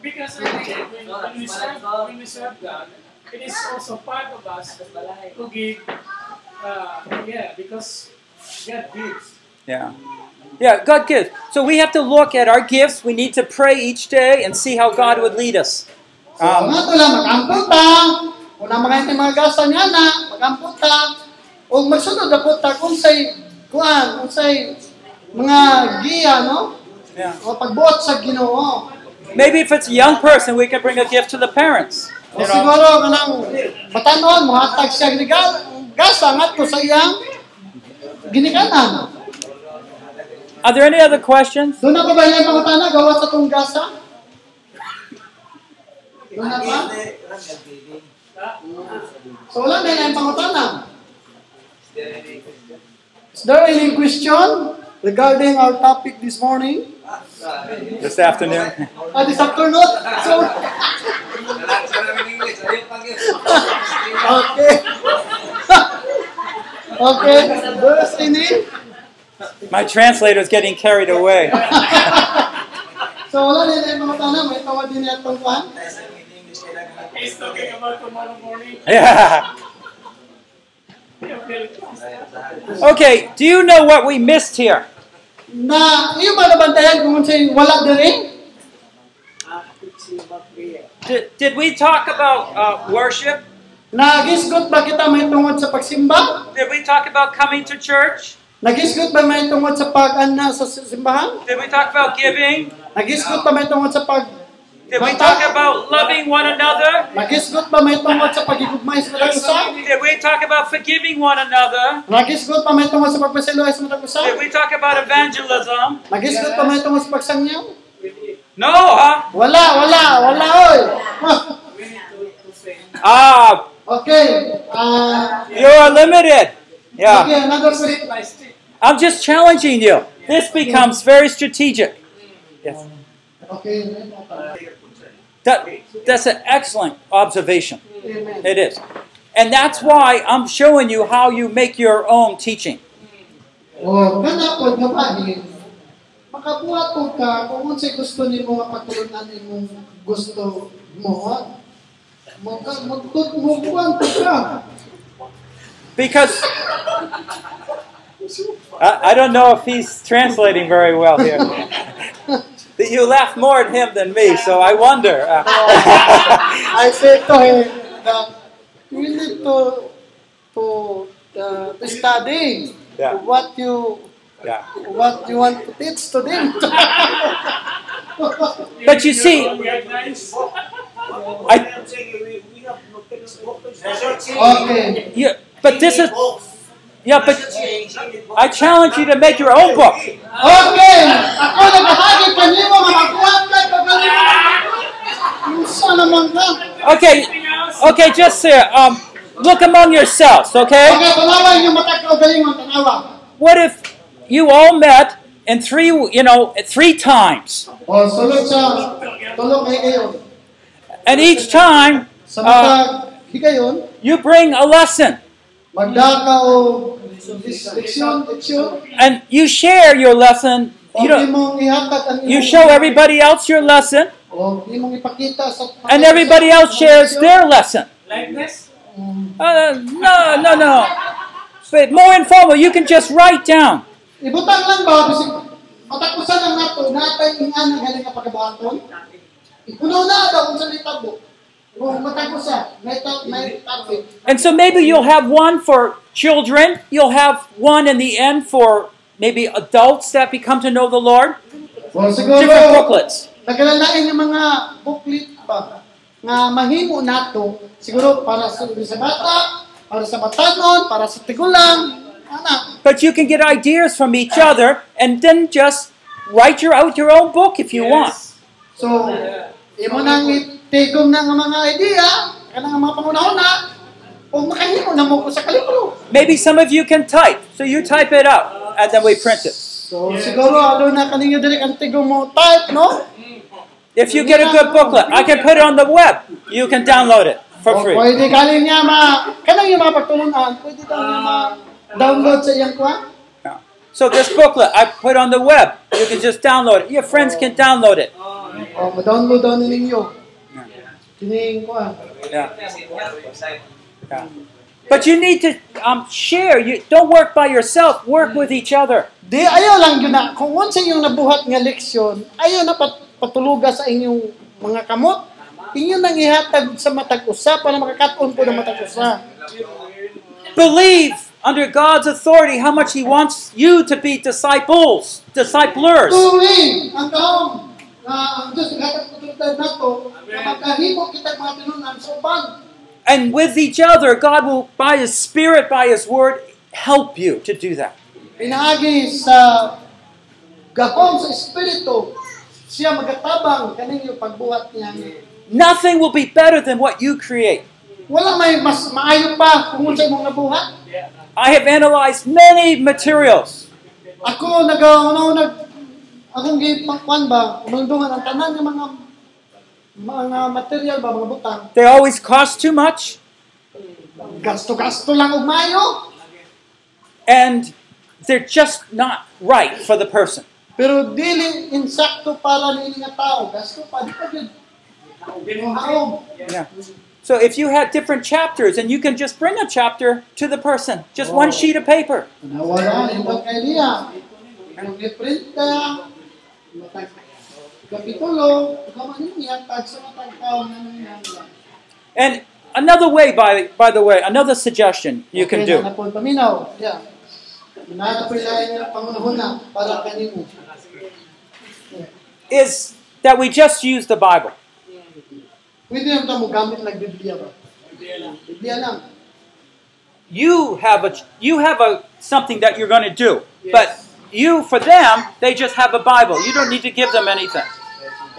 H: Because I think when, when, we serve, when we serve God, it is also part of us to give. Uh, yeah, because God gives.
F: Yeah. Yeah, God gives. So we have to look at our gifts. We need to pray each day and see how God would lead us.
E: So um, nga to lang magamputa. Una mga ito mga gasa niya na magamputa. O magsunod na puta kung say kuan, kung say mga giya, no?
F: Yeah.
E: O pagbuot sa Ginoo.
F: Maybe if it's a young person, we can bring a gift to the parents.
E: O siguro kanang batanon mo hatag siya ginigal gasa ngadto sa iyang ginikanan.
F: Are there any other questions?
E: Doon na ba ba yung pangutana gawa sa tong gasa? Doon na ba? So wala na yung pangutana. Is there any question regarding our topic this morning?
F: This afternoon.
E: Ah, this afternoon? So, okay. okay. There's any?
F: My translator is getting carried away.
E: So wala na yung pangutana. May tawad din yung itong fan.
H: He's talking about tomorrow morning.
F: Yeah.
H: Okay.
F: Okay, do you know what we missed here?
E: Na, iyo ba nabantayan kung sa'yo wala din eh?
F: Did, did we talk about uh, worship?
E: Nagisgot ba kita may tungod sa pagsimba?
F: Did we talk about coming to church?
E: Nagisgot ba may tungod sa pag-anna sa simbahan?
F: Did we talk about giving?
E: Nagisgot ba may tungod sa pag...
F: Did we talk about loving one another?
E: Nagisgot ba may tungod sa pagigugmay sa matag usa?
F: Did we talk about forgiving one another?
E: Nagisgot ba may tungod sa pagpasilo sa matag usa?
F: Did we talk about evangelism?
E: Nagisgot ba may tungod sa pagsangyaw?
F: No, huh?
E: Wala, wala, wala oy.
F: Ah,
E: okay. Ah,
F: you're limited. Yeah.
E: okay, another question.
F: I'm just challenging you. This becomes very strategic. Yes.
E: Okay.
F: That, that's an excellent observation.
E: Amen.
F: It is. And that's why I'm showing you how you make your own teaching.
E: Oh, kana po nga bahin. Makabuhat po ka kung unsay gusto nimo nga patulunan imong gusto mo. Mo ka mo mo kuan po ka.
F: Because I, I don't know if he's translating very well here. That you laugh more at him than me, so I wonder. Uh,
E: I said to him that you need to to uh, to study
F: Yeah.
E: what you
F: yeah.
E: what you want to teach to them.
F: But you see, I,
E: okay.
F: you, but this is yeah. But I challenge you to make your own book.
E: Okay! Ako na bahagi pa niyo mga kuwan ka pagaling. Unsa naman ka?
F: Okay, okay, just there. Um, Look among yourselves, okay?
E: Mga tanawa inyong mata kaugalingon tanawa.
F: What if you all met in three, you know, three times,
E: O sulod sa tulog kay kayo.
F: and each time
E: Sa
F: Ah.
E: mata higayon,
F: you bring a lesson
E: magdaka o leksyon, leksyon.
F: and you share your lesson.
E: O
F: You don't.
E: imong ihatag ang
F: You show everybody else your lesson,
E: O imong ipakita sa
F: and everybody else shares their lesson.
H: Like this?
F: Uh, no, no, no. But more informal, you can just write down.
E: Ibutang lang ba bisig matakusan ang nato natay ingan ang galing nga pagkabaton. Ikunaw na daw unsa ni tabo. Kung matakusan, may tap may tabi.
F: And so maybe you'll have one for children, you'll have one in the end for maybe adults that become to know the Lord,
E: O siguro
F: different booklets.
E: nagalalain ng mga booklet ba nga mahimo nato siguro para sa, sa bata, para sa batanon, para sa tigulang, ana.
F: But you can get ideas from each other and then just write your out your own book if you want.
E: So, imo nang itigom na nga mga idea, kanang mga panguna-una, o makahimo na mo ko sa kalibro.
F: Maybe some of you can type. So you type it out and then we print it.
E: So, siguro, ano na kaninyo dili ang tigom mo type, no?
F: If you get a good booklet, I can put it on the web. You can download it for
E: O
F: free.
E: pwede kanin niya ma, kanang yung mga pagtulunan, pwede daw niya ma-download sa iyang kuha.
F: So this booklet I put on the web. You can just download it. Your friends can download it.
E: O, ma-download daw ninyo. Kining kuha.
F: Yeah.
J: website.
F: But you need to um, share. You don't work by yourself. Work with each other.
E: Di ayaw lang yun na kung unsa yung nabuhat nga leksyon, ayaw na pat, patuluga sa inyong mga kamot. Inyo nang ihatag sa matag usa para makakaton po ng matag usa.
F: Believe under God's authority how much He wants you to be disciples, disciplers.
E: Tuwing ang kaong na ang Diyos ihatag patulutan nato na magkahimo kita mga tinunan sa uban.
F: And with each other, God will, by His Spirit, by His Word, help you to do that.
E: Pinaagi sa gahom sa Espiritu, siya magatabang kaninyo pagbuhat niya.
F: Nothing will be better than what you create.
E: Wala may mas maayo pa kung unsa imong nabuhat.
F: I have analyzed many materials.
E: Ako nag ano nag akong gipakwan ba umundungan ang tanan ng mga mga material ba mga butang
F: They always cost too much,
E: gasto-gasto lang og mayo
F: and they're just not right for the person.
E: pero dili insakto para ni nga tao gasto pa di pa gyud Haog.
F: Yeah. So if you had different chapters, and you can just bring a chapter to the person, just one sheet of paper.
E: nawala ibang kay niya ang print ka matag kapitulo kamo ni niya tag sa matag tao na niya
F: And another way, by by the way, another suggestion you can
E: Okay
F: do
E: na napon paminaw. Yeah. Natapoy lang yung pangunahuna para kanimo.
F: is that we just use the Bible.
E: Pwede naman tayo gamit lang Biblia ba? Biblia lang.
F: You have a you have a something that you're going to do, but you for them they just have a Bible. You don't need to give them anything.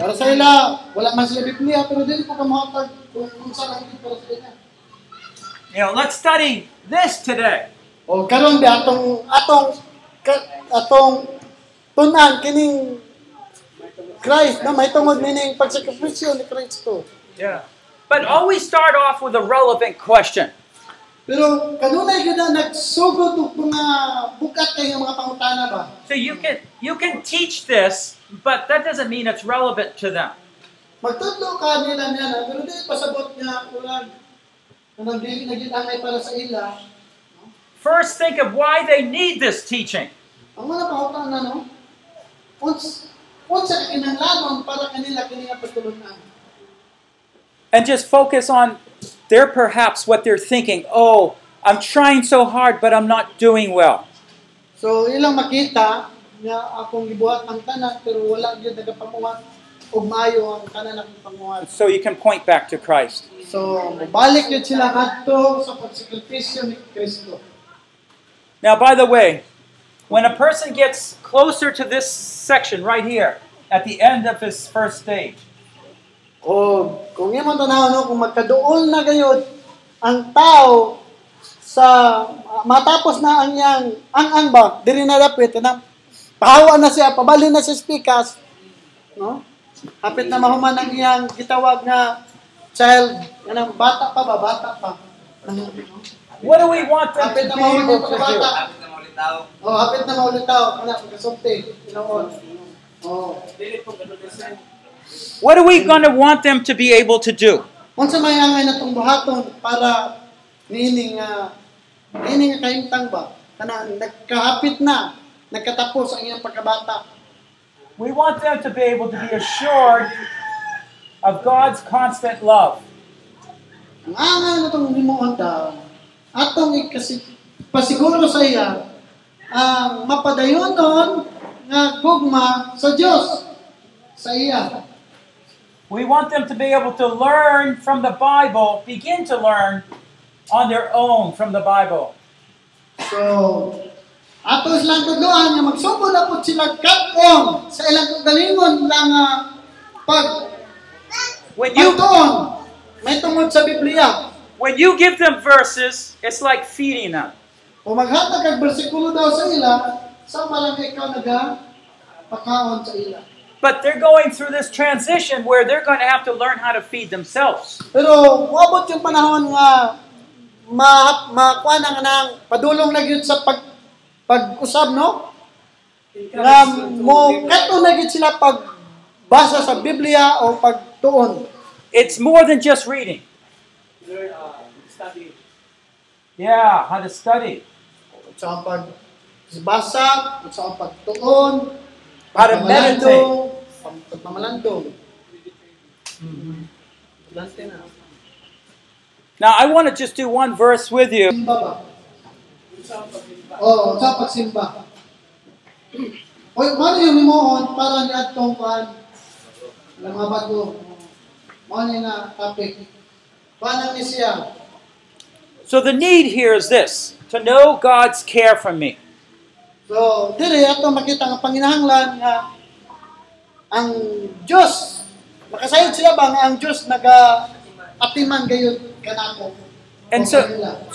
E: Para sa ila, wala man sila Biblia, pero dili ko ka mahatag kung kung saan ang para sa ila.
F: You know, let's study this today.
E: O karon di atong atong ka- atong tunan kining Christ na may tungod nining pagsakripisyo ni Kristo.
F: Yeah. But always start off with a relevant question.
E: Pero kanunay gyud na nagsugod og mga bukat kay nga mga pangutana ba?
F: So you can you can teach this, but that doesn't mean it's relevant to them.
E: Magtutlo ka nila niya na, pero di pasabot niya kulang. Kung nandili na gitangay para sa ila,
F: First, think of why they need this teaching.
E: ang mga pauta na no, uns, unsa ka kinanglanon para kanila kanila pagtulunan.
F: and just focus on their perhaps what they're thinking. Oh, I'm trying so hard, but I'm not doing well.
E: So ilang makita nga akong gibuhat ang tanan pero wala gyud nagapamuhat og maayo ang tanan akong panguhat.
F: So you can point back to Christ.
E: So mabalik gyud sila kadto sa pagsakripisyo ni Kristo.
F: Now, by the way, when a person gets closer to this section right here, at the end of his first stage,
E: O kung imo tanaw no kung magkaduol na gayud ang tao sa matapos na ang yang ang ang ba diri na dapat na pahawa na siya pabali na siya sa pikas no hapit na mahuman ang iyang gitawag nga child nga bata pa ba bata pa
G: What do we want them
E: hapit
G: to
E: na
G: be
E: mahuman ang
G: able to do?
E: bata
J: Tapos na ulit tao.
E: oh hapit na maulit tao kana kasulti inoon oh
F: What are we going to want them to be able to do?
E: unsa may angay natong buhaton para niini nga niini nga kahimtang ba kana nagkahapit na nagkatapos ang iyang pagkabata
G: We want them to be able to be assured of God's constant love.
E: ang angay natong himuon ta atong ikasi pasiguro sa iya ang mapadayonon nga gugma sa Dios sa iya
G: We want them to be able to learn from the Bible, begin to learn on their own from the Bible.
E: so ato silang tudloan nga magsugod na po sila katong sa ilang kagalingon lang ah, pag
F: When you
E: Pagtuon, may tungod sa Biblia.
F: when you give them verses, it's like feeding them.
E: Kung maghatag kag bersikulo daw sa ila, sa lang ikaw naga pakaon sa ila.
F: But they're going through this transition where they're going to have to learn how to feed themselves.
E: Pero wabot yung panahon nga ma makuha na nga nang padulong na gyud sa pag pag-usab no? Nga mo kato na gyud sila pag basa sa Biblia o pagtuon.
F: It's more than just reading.
H: Learn, uh, study.
G: Yeah, how to study.
E: Sa ang pag basa, sa ang pagtuon,
F: How to meditate.
E: Pagmamalandong.
F: Now, I want to just do one verse with you.
E: Simba ba? Oo, sa pagsimba. Oy, paano yung himoon para ni atong kuan ng mga bago? Mao ni nga topic. Paano ni siya?
F: So, the need here is this to know God's care for me.
E: So, diri ato makita nga panginahanglan nga ang Dios makasayod sila ba nga ang Dios naga atiman gayud kanako.
F: And so,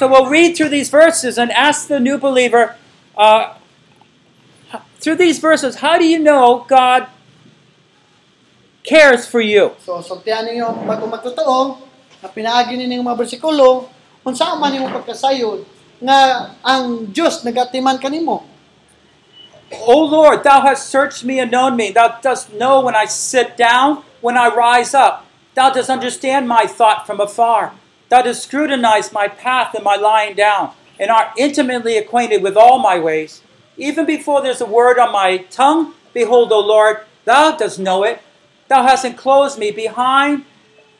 F: so we'll read through these verses and ask the new believer uh, h- through these verses, how do you know God cares for you?
E: So, sultihan ninyo bago magtotoo na pinaagi ninyo mga bersikulo kung saan man yung pagkasayod nga ang Diyos nagatiman kanimo.
F: O Lord, thou hast searched me and known me. Thou dost know when I sit down, when I rise up. Thou dost understand my thought from afar. Thou dost scrutinize my path and my lying down, and art intimately acquainted with all my ways. Even before there's a word on my tongue, behold, O Lord, thou dost know it. Thou hast enclosed me behind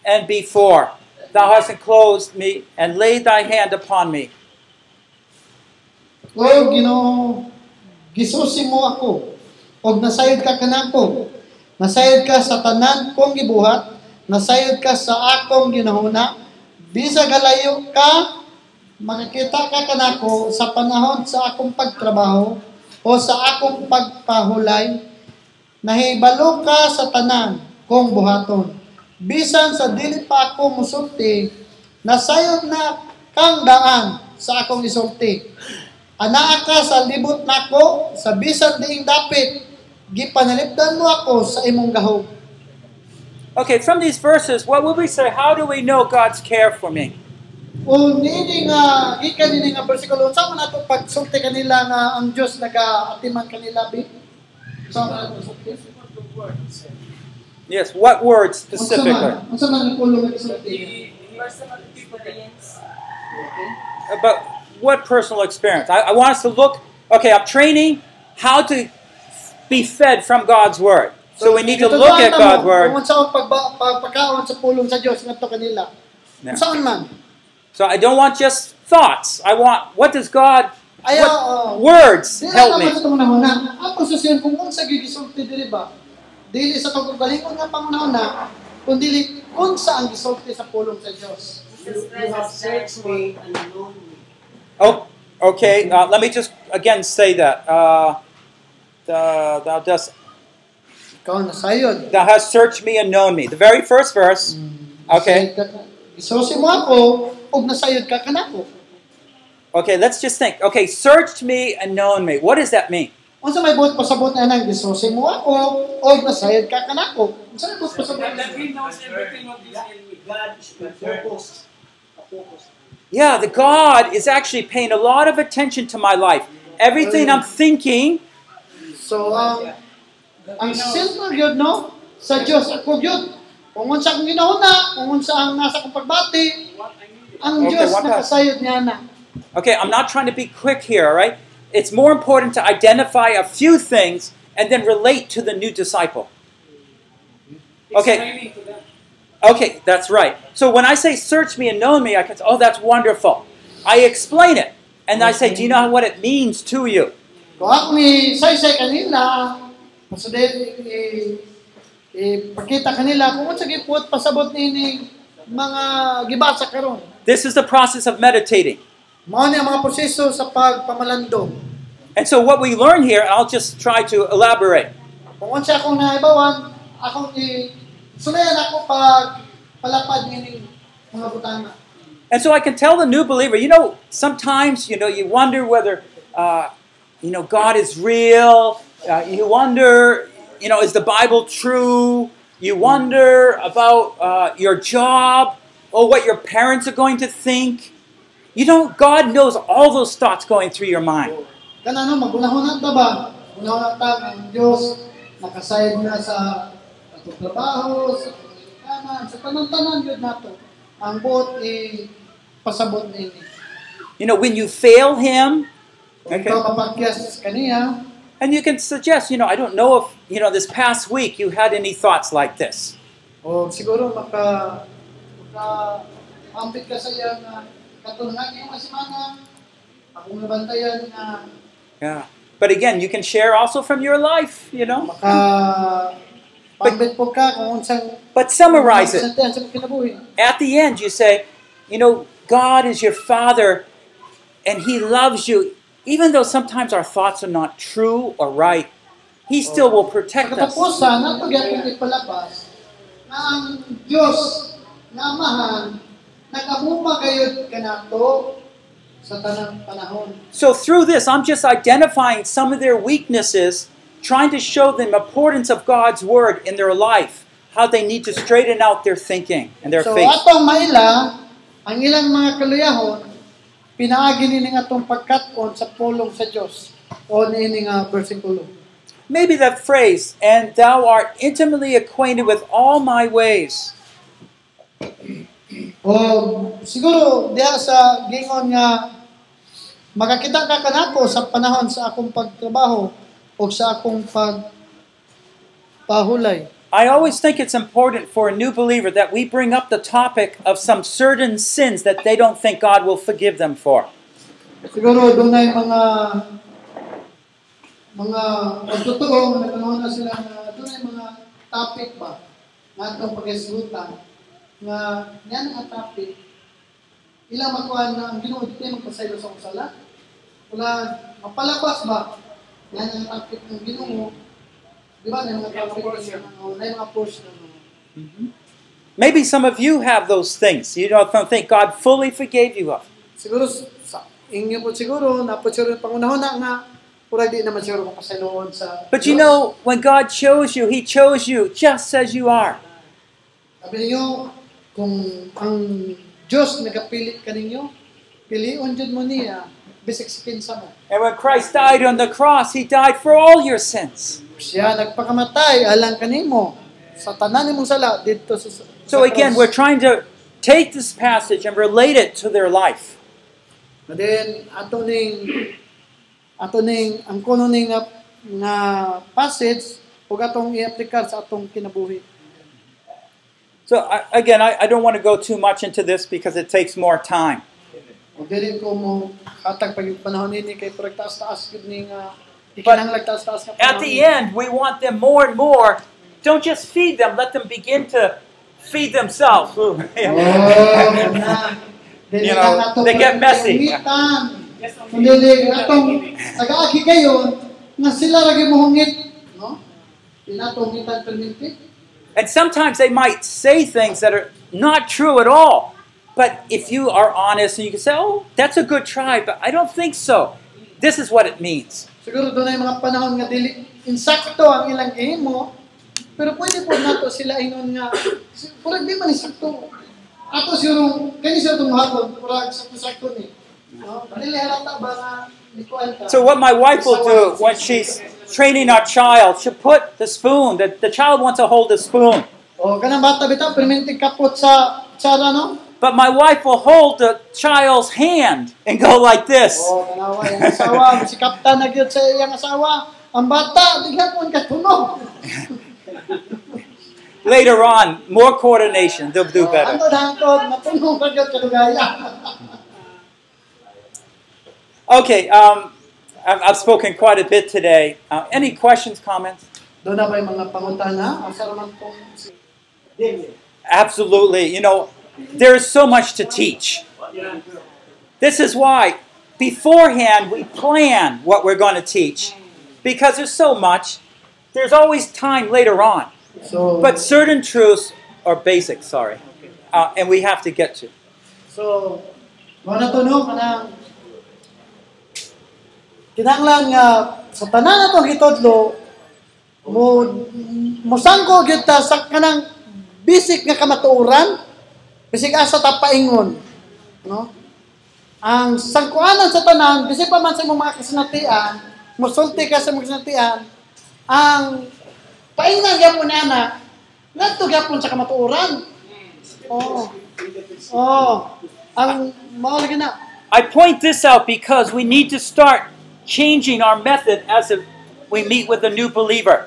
F: and before. Thou hast enclosed me and laid thy hand upon me.
E: O Ginoo, gisusi mo ako o nasayod ka kanako. Nasayod ka sa tanan kong gibuhat, nasayod ka sa akong ginahuna, bisag halayo ka, makakita ka kanako sa panahon sa akong pagtrabaho o sa akong pagpahulay, nahibalo ka sa tanan kong buhaton. Bisan sa dili pa ako musulti, nasayod na kang daan sa akong isulti. Anaa ka sa libot nako, sa bisan diing dapit, gipanalipdan mo ako sa imong gahog.
F: Okay, from these verses, what would we say? How do we know God's care for me?
E: O nini nga, gikan nini nga bersikulo, sa man ato pagsulti kanila nga ang Diyos nagaatiman kanila, bi? Sa
F: Yes, what word specifically?
E: Unsa man, unsa man ang kulong nga isulti?
I: Personal experience.
F: About what personal experience? I, I want us to look, okay, I'm training how to be fed from God's word. So we need to look at God's word.
E: Kung saan pagba, pagpakaon sa pulong sa Diyos ngadto kanila.
F: Yeah.
E: Kung saan man.
F: So I don't want just thoughts. I want, what does God,
E: Ayaw,
F: what
E: oo.
F: words
E: Dili naman
F: help me?
E: sa panahona. Ang susiyan kung unsa gyud gisulti diri ba? Dili sa pagkagalingon nga panahona, kun dili unsa ang gisulti sa pulong sa Dios.
I: Jesus Christ has searched me and known me.
F: Oh, okay, uh, let me just again say that. Uh, the, thou, dost,
E: Ikaw na sayod.
F: thou hast searched me and known me. The very first verse. Okay.
E: Isusi mo ako ug nasayod ka kanako.
F: Okay, let's just think. Okay, searched me and known me. What does that mean?
E: Unsa may buot pasabot na nang gisusi mo ako ug nasayod ka kanako. Unsa may buot pasabot
H: And
E: na
H: that he knows everything of this enemy. God focus.
F: Yeah, the God is actually paying a lot of attention to my life. Everything I'm thinking,
E: So ang ang silver yun no sa Dios ako yun. Kung unsa akong ginauna, kung unsa ang nasa akong pagbati, ang
F: Okay,
E: Dios
F: what else?
E: nakasayod niya na.
F: okay, I'm not trying to be quick here, all right? It's more important to identify a few things and then relate to the new disciple. Okay.
H: Explaining to them.
F: Okay, that's right. So when I say search me and know me, I can say, oh, that's wonderful. I explain it. And I say, do you know what it means to you?
E: Kung ako ni saysay kanila, masuday ipakita kanila kung unsa gipot pasabot nini mga gibasa karon.
F: This is the process of meditating.
E: Mao ni ang mga proseso sa pagpamalandong.
F: And so what we learn here, I'll just try to elaborate.
E: Kung unsa akong naibawan, akong i sulayan ako pag palapad nini mga butana.
F: And so I can tell the new believer, you know, sometimes, you know, you wonder whether, uh, you know, God is real. Uh, you wonder, you know, is the Bible true? You wonder about uh, your job or what your parents are going to think. You know, God knows all those thoughts going through your mind.
E: Kana no magunahon na ta ba? Gunahon na ta ang Dios nakasayod na sa atong trabaho, sa kanan, sa tanan-tanan yun nato. Ang buot i pasabot nini.
F: You know, when you fail Him,
E: Kung
F: Okay.
E: okay. mapakyas kaniya,
F: and you can suggest, you know, I don't know if, you know, this past week you had any thoughts like this.
E: o siguro maka maka ambit ka sa ah, iya na katong na ngayong semana akong nabantayan na
F: Yeah. But again, you can share also from your life, you know.
E: maka pambit po ka kung unsang
F: But summarize it.
E: Sa sa kinabuhi.
F: At the end, you say, you know, God is your Father and He loves you. Even though sometimes our thoughts are not true or right, He still will protect us.
E: Katapusan, napagyapon ipalabas na ang Diyos na amahan nagamuma kayo kanato sa tanang panahon.
F: So through this, I'm just identifying some of their weaknesses, trying to show them importance of God's Word in their life, how they need to straighten out their thinking and their
E: So
F: faith.
E: atong maila ang ilang mga kaluyahon pinaagi nini nga atong pagkat-on sa pulong sa Dios o nini nga bersikulo.
F: Maybe that phrase, and thou art intimately acquainted with all my ways.
E: O siguro diha sa gingon nga makakita ka kanako sa panahon sa akong pagtrabaho o sa akong pag pahulay.
F: I always think it's important for a new believer that we bring up the topic of some certain sins that they don't think God will forgive them for.
E: Siguro doon ay mga mga pagtotoo na panahon na sila na doon ay mga topic ba na itong pagkasutan na yan ang topic ilang makuha na ang ginoon dito yung magpasaylo sa kusala wala mapalabas ba yan ang topic ng ginoo di ba na yung mga topic na mga na yung mga portion na mga
F: Maybe some of you have those things you don't think God fully forgave you of.
E: siguro sa inyo po siguro na po siguro pangunahon na nga pura di naman siguro mapasayloon sa
F: But you
E: Diyos.
F: know, when God chose you, He chose you just as you are.
E: Sabi ninyo, kung ang Diyos nagapili ka ninyo, piliun Diyod mo niya, bisik sa kinsa mo.
F: And when Christ died on the cross, He died for all your sins.
E: Siya nagpakamatay, alang kanimo, sa tanan nimong sala, dito sa sa
F: So again,
E: cross.
F: we're trying to take this passage and relate it to their life.
E: And then, ato ning, ato ning, ang kuno ning nga, nga passage, huwag atong i-aplikar sa atong kinabuhi.
F: So I, again, I, I don't want to go too much into this because it takes more time.
E: Huwag din ko mo hatag pag yung panahon ini kay parang taas-taas yun ni nga, ikinanglag taas-taas nga
F: At
E: panahon.
F: the end, we want them more and more. Don't just feed them, let them begin to feed themselves. Ooh, yeah.
E: Dili
F: You know,
E: lang ato
F: they get
E: parang
F: messy.
E: gamitan.
H: Just only-
E: Kundi atong nag-aagi kayo nga sila lagi mohungit, no? Pinatong permitted.
F: and sometimes they might say things that are not true at all. But if you are honest and you can say, oh, that's a good try, but I don't think so. This is what it means.
E: Siguro doon ay mga panahon nga dili insakto ang ilang gihimo, pero pwede po nato sila ingon nga si- purag di man insakto. Ato siguro kani sa tong hapon purag sakto sakto ni. No, dili halata ba nga ikuan ka?
F: So what my wife will do when she's training our child, she'll put the spoon, the, the child wants to hold the spoon.
E: o kanang bata bitaw perminting kapot sa tsara no?
F: But my wife will hold the child's hand and go like this.
E: O kanawa Oh, yung asawa, si kapta na gyud sa iyang asawa. Ang bata dighapon katunog.
F: Later on, more coordination, they'll do better.
E: Hangtod hangtod matunog ra gyud kadugaya.
F: Okay, um, I've, I've spoken quite a bit today. Uh, any questions, comments?
E: Doon na ba yung mga pangutana? Asa raman po si Daniel?
F: Absolutely. You know, there is so much to teach. This is why beforehand we plan what we're going to teach because there's so much. There's always time later on.
E: So,
F: But certain truths are basic, sorry, uh, and we have to get to.
E: so, mga natunog, kanang, kinanglan nga, sa tanan na itong hitodlo, mo, musangko kita sa kanang bisik nga kamatuoran, bisik asa tapaingon. No? Ang sangkuanan sa tanan, bisik pa man sa imong mga kasinatian, musulti ka sa imong kasinatian, ang paingan gyapon niya na, nagto gyapon sa kamatuoran. Oo. Oo. Ang mahalaga na.
F: I point this out because we need to start changing our method as if we meet with a new believer.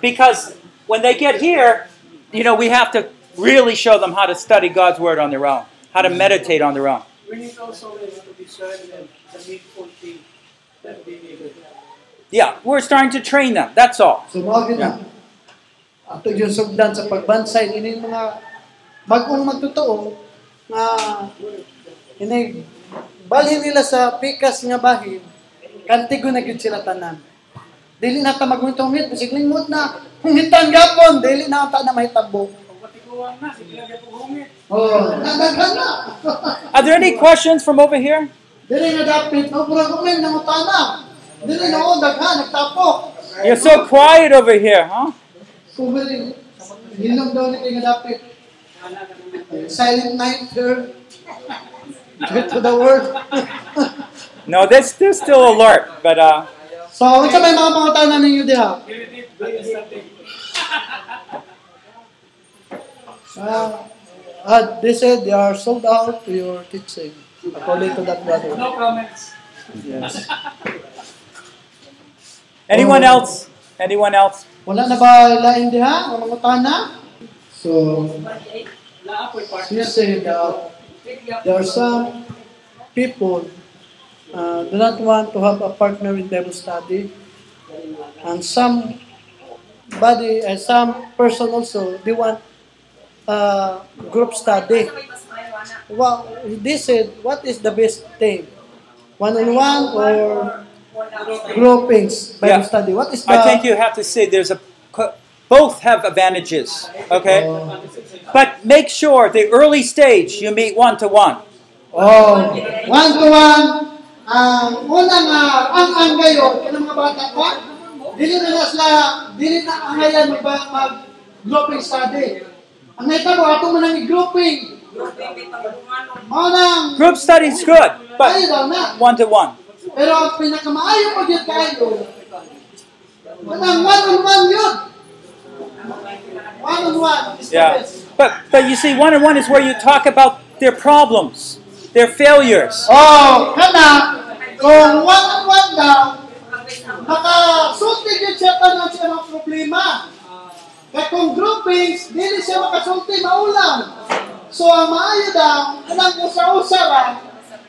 F: Because when they get here, you know, we have to really show them how to study God's word on their own, how to meditate on their own.
H: We need also you know, to discern the, the needful thing that they need.
F: Yeah, we're starting to train them. That's all.
E: So mahalaga na. Ato yung sugdan sa pagbansay, ini yung mga bagong magtotoo na ini balhin nila sa pikas nga bahin, kantigo na gyud sila tanan. Dili na ta maguntumit, bisig lingmod na. Hungitan gapon, dili na ta na mahitabo.
H: Pag matiguan na, sige lang yung hungit.
E: Oh, nagaghan na.
F: Are there any questions from over here?
E: Dili na dapit, no pura kumin nang utana. Dili na o daghan nagtapok.
F: You're so quiet over here, huh?
E: Kumiling. Hilom daw ni kay dapit. Silent night girl. Get to the world.
F: No, they're, they're still alert, but uh,
E: So, unsa may mga pangutana ninyo diha?
H: Very deep understanding.
E: Ah, ah, they said they are sold out to your teaching. According to that brother.
H: No comments.
E: Yes.
F: anyone else? Anyone else?
E: Wala na ba lain diha? Mga pangutana? So, you uh, say that there are some people uh, do not want to have a partner in Bible study, and some body and some person also they want uh, group study. Well, they said, what is the best thing, one on one or groupings Bible
F: Yeah.
E: study? What is the?
F: I think you have to say there's a both have advantages, okay?
E: Oh,
F: But make sure the early stage you meet one to one.
E: oh, one to one. Ang unang ah, ang ang kayo, kaya mga bata pa, dili na na sila, dili na ang ayan mag, mag grouping study. Ang naitabo, ato mo nang i-grouping. Mao nang,
F: Group study is good,
E: kayo
F: but
E: daw na.
F: one to one.
E: Pero ang pinakamaayo mo yun kayo, kanang one-on-one yun. One-on-one is the
F: Yeah.
E: best.
F: But but you see, one on one is where you talk about their problems, their failures.
E: Oh, kana, kung one-on-one daw, Makasulti yun siya pa ng siya ng problema. Kaya kung groupings, dili siya makasulti maulam. So ang maayo daw, anang usa-usa lang,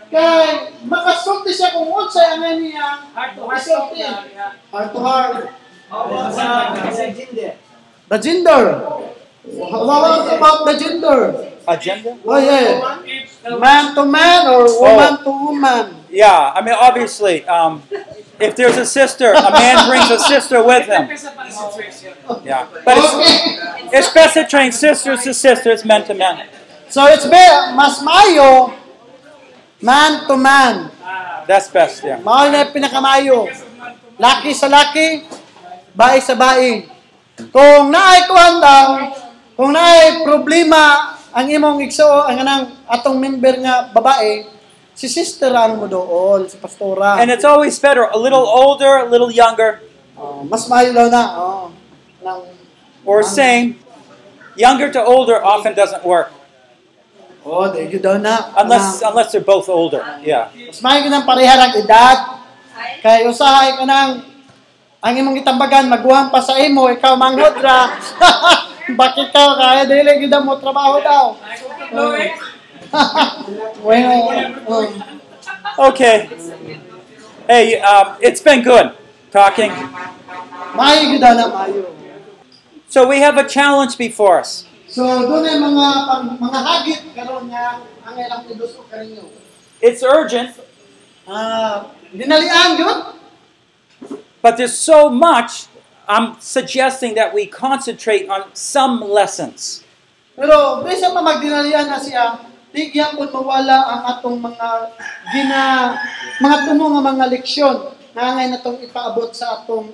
E: kay makasulti siya kung unsa ang ano niya,
H: Heart to heart.
E: makasulti. Heart to heart.
H: Sa
E: The gender. What about the gender?
F: Agenda?
E: Oh yeah. Man to man or woman to woman.
F: Yeah, I mean, obviously, um, if there's a sister, a man brings a sister with him.
H: Depends upon the situation.
F: Oh. Yeah. But it's, it's best to train sisters to sisters, men to men.
E: So it's be, mas mayo man to man.
F: That's best, yeah.
E: Mao na yung pinakamayo. Laki sa laki, bae sa bae. Kung naay kuhan daw, kung naay problema ang imong igsuo ang anang atong member nga babae, si sister ang mo dool, si pastora.
F: And it's always better, a little older, a little younger,
E: Oh, mas mayo daw na. Oh, ng,
F: or same. Younger to older often doesn't work
E: oh, there you daw na.
F: unless
E: Anang-
F: unless they're both older. Yeah.
E: Mas may ng pareha ng edad. Kay usahay ka ng ang imong gitambagan maguhang pa sa imo ikaw manghod ra. Bakit ka kaya dili gid mo trabaho daw. Bueno, oh,
F: Okay. Hey, um, it's been good talking.
E: may gid na mayo.
F: So we have a challenge before us.
E: So dunay mga pang- mga hagit karon nga ang ilang piduso kaninyo.
F: It's urgent,
E: Ah, dinalian gyud.
F: but there's so much. I'm suggesting that we concentrate on some lessons.
E: Pero bisan pa magdinalian na siya, di gyapon mawala ang atong mga gina mga tumo nga mga leksyon na angay natong ipaabot sa atong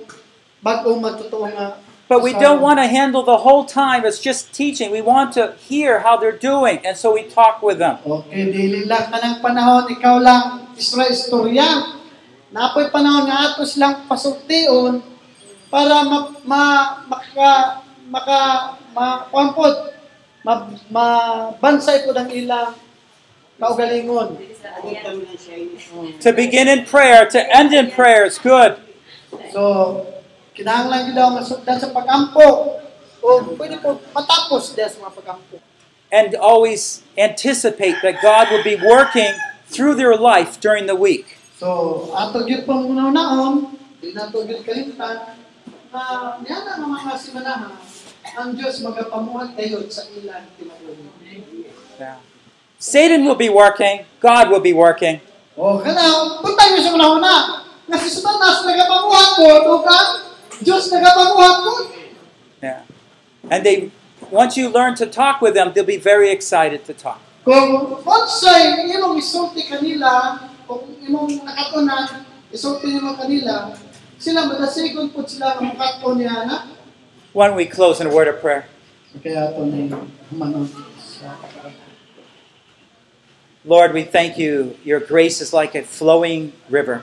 E: bag-ong magtotoo nga
F: But we don't want to handle the whole time as just teaching. We want to hear how they're doing, and so we talk with them.
E: Okay, dili lang kanang panahon ikaw lang isra istorya. Napoy panahon nga ato silang pasultion para ma, ma maka maka ma kuanpod ma, mabansay pud ang ilang kaugalingon.
F: To begin in prayer, to end in prayer is good.
E: So, kinahanglan gyud daw nga sugdan sa pagampo. O pwede po matapos diha sa mga pagampo.
F: And always anticipate that God will be working through their life during the week.
E: So, ato gyud pa muna naon, di na to gyud kalimutan na niya na nga mga simanahan ang Dios magapamuhat kayo sa ilang tinuod.
F: Satan will be working, God will be working.
E: O kana, punta niyo sa panahon na nga si Satanas nagapamuhat ko o ka Dios nagapamuhat ko.
F: Yeah. And they once you learn to talk with them, they'll be very excited to talk.
E: Kung unsay imong isulti kanila, kung imong nakatunan, isulti nimo kanila, sila madasigon po sila ang makaton niya na.
F: Why don't we close in a word of prayer?
E: Kaya ito na yung humanon sa
F: Lord, we thank you. Your grace is like a flowing river.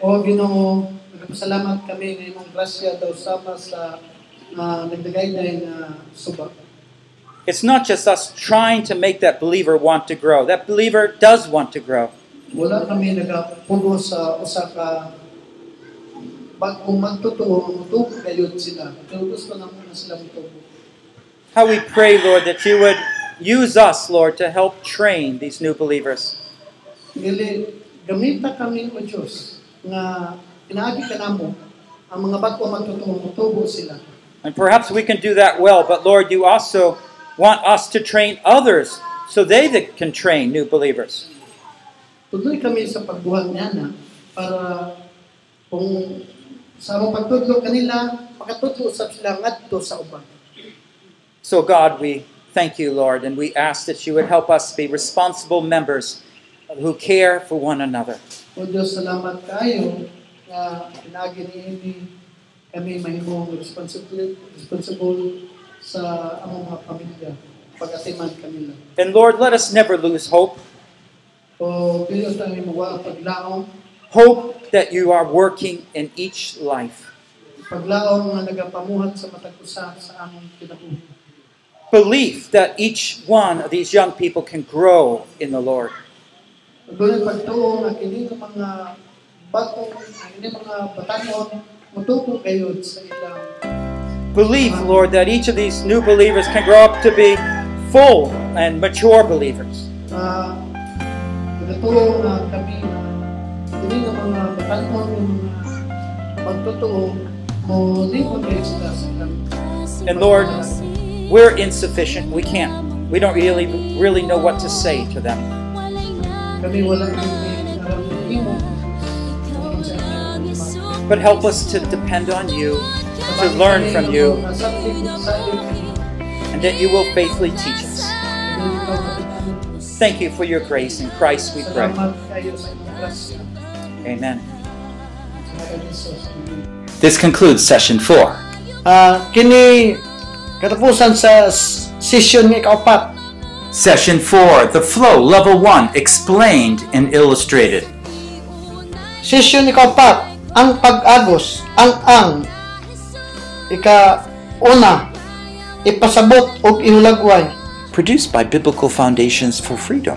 E: O Ginoo, nagpasalamat kami ng imong grasya daw sama sa uh, nagbigay na yung suba.
F: It's not just us trying to make that believer want to grow. That believer does want to grow.
E: Wala kami nagapugo sa usa ka bagong magtotoo, mutubo kayo sila. Pero gusto na muna sila mutubo.
F: How we pray, Lord, that you would use us, Lord, to help train these new believers.
E: Dili, gamita kami o Diyos nga inaagi ka namo ang mga bago magtutulong mutubo sila.
F: And perhaps we can do that well, but Lord, you also want us to train others so they that can train new believers.
E: Tuloy kami sa pagbuhat niya na para kung sa among pagtudlo kanila, makatudlo usab sila ngadto sa uban.
F: So, God, we thank you, Lord, and we ask that you would help us be responsible members who care for one another.
E: O Diyos, salamat kayo na inaagi ni Amy kami mahimong responsible, responsible sa among mga pamilya pag-atiman kanila.
F: And Lord, let us never lose hope
E: O Diyos, na may mawa paglaong
F: hope that you are working in each life.
E: paglaong nga nagapamuhat sa matag usa sa among kinabuhi.
F: belief that each one of these young people can grow in the Lord.
E: Doon ang pagtuo nga kini nga mga batong, kini mga batanon, mutuko kayo sa ilang
F: Believe, Lord, that each of these new believers can grow up to be full and mature believers.
E: ah, nagatuo nga kami na kini nga mga batanon yung mga pagtutuo mo lingkod kayo sila sa ilang
F: And Lord, we're insufficient. We can't. We don't really really know what to say to them.
E: kami walang hindi naramdaman imo. Kung sa inyong mga-
F: But help us to depend on you, to learn from you,
E: Sa pagkakataon nga sa ating- sa ating-
F: and that you will faithfully teach us.
E: Kaya
F: Thank you for your grace. In Christ we pray.
E: Salamat kayo sa inyong grasya.
F: Amen.
E: Salamat, Jesus.
D: This concludes session four.
E: Ah, kini katapusan sa s- session nga ikaapat.
D: Session four, the flow level one explained and illustrated.
E: Session ikaapat, ang pag-agos, ang ang ika una ipasabot og ihulagway.
D: Produced by Biblical Foundations for Freedom,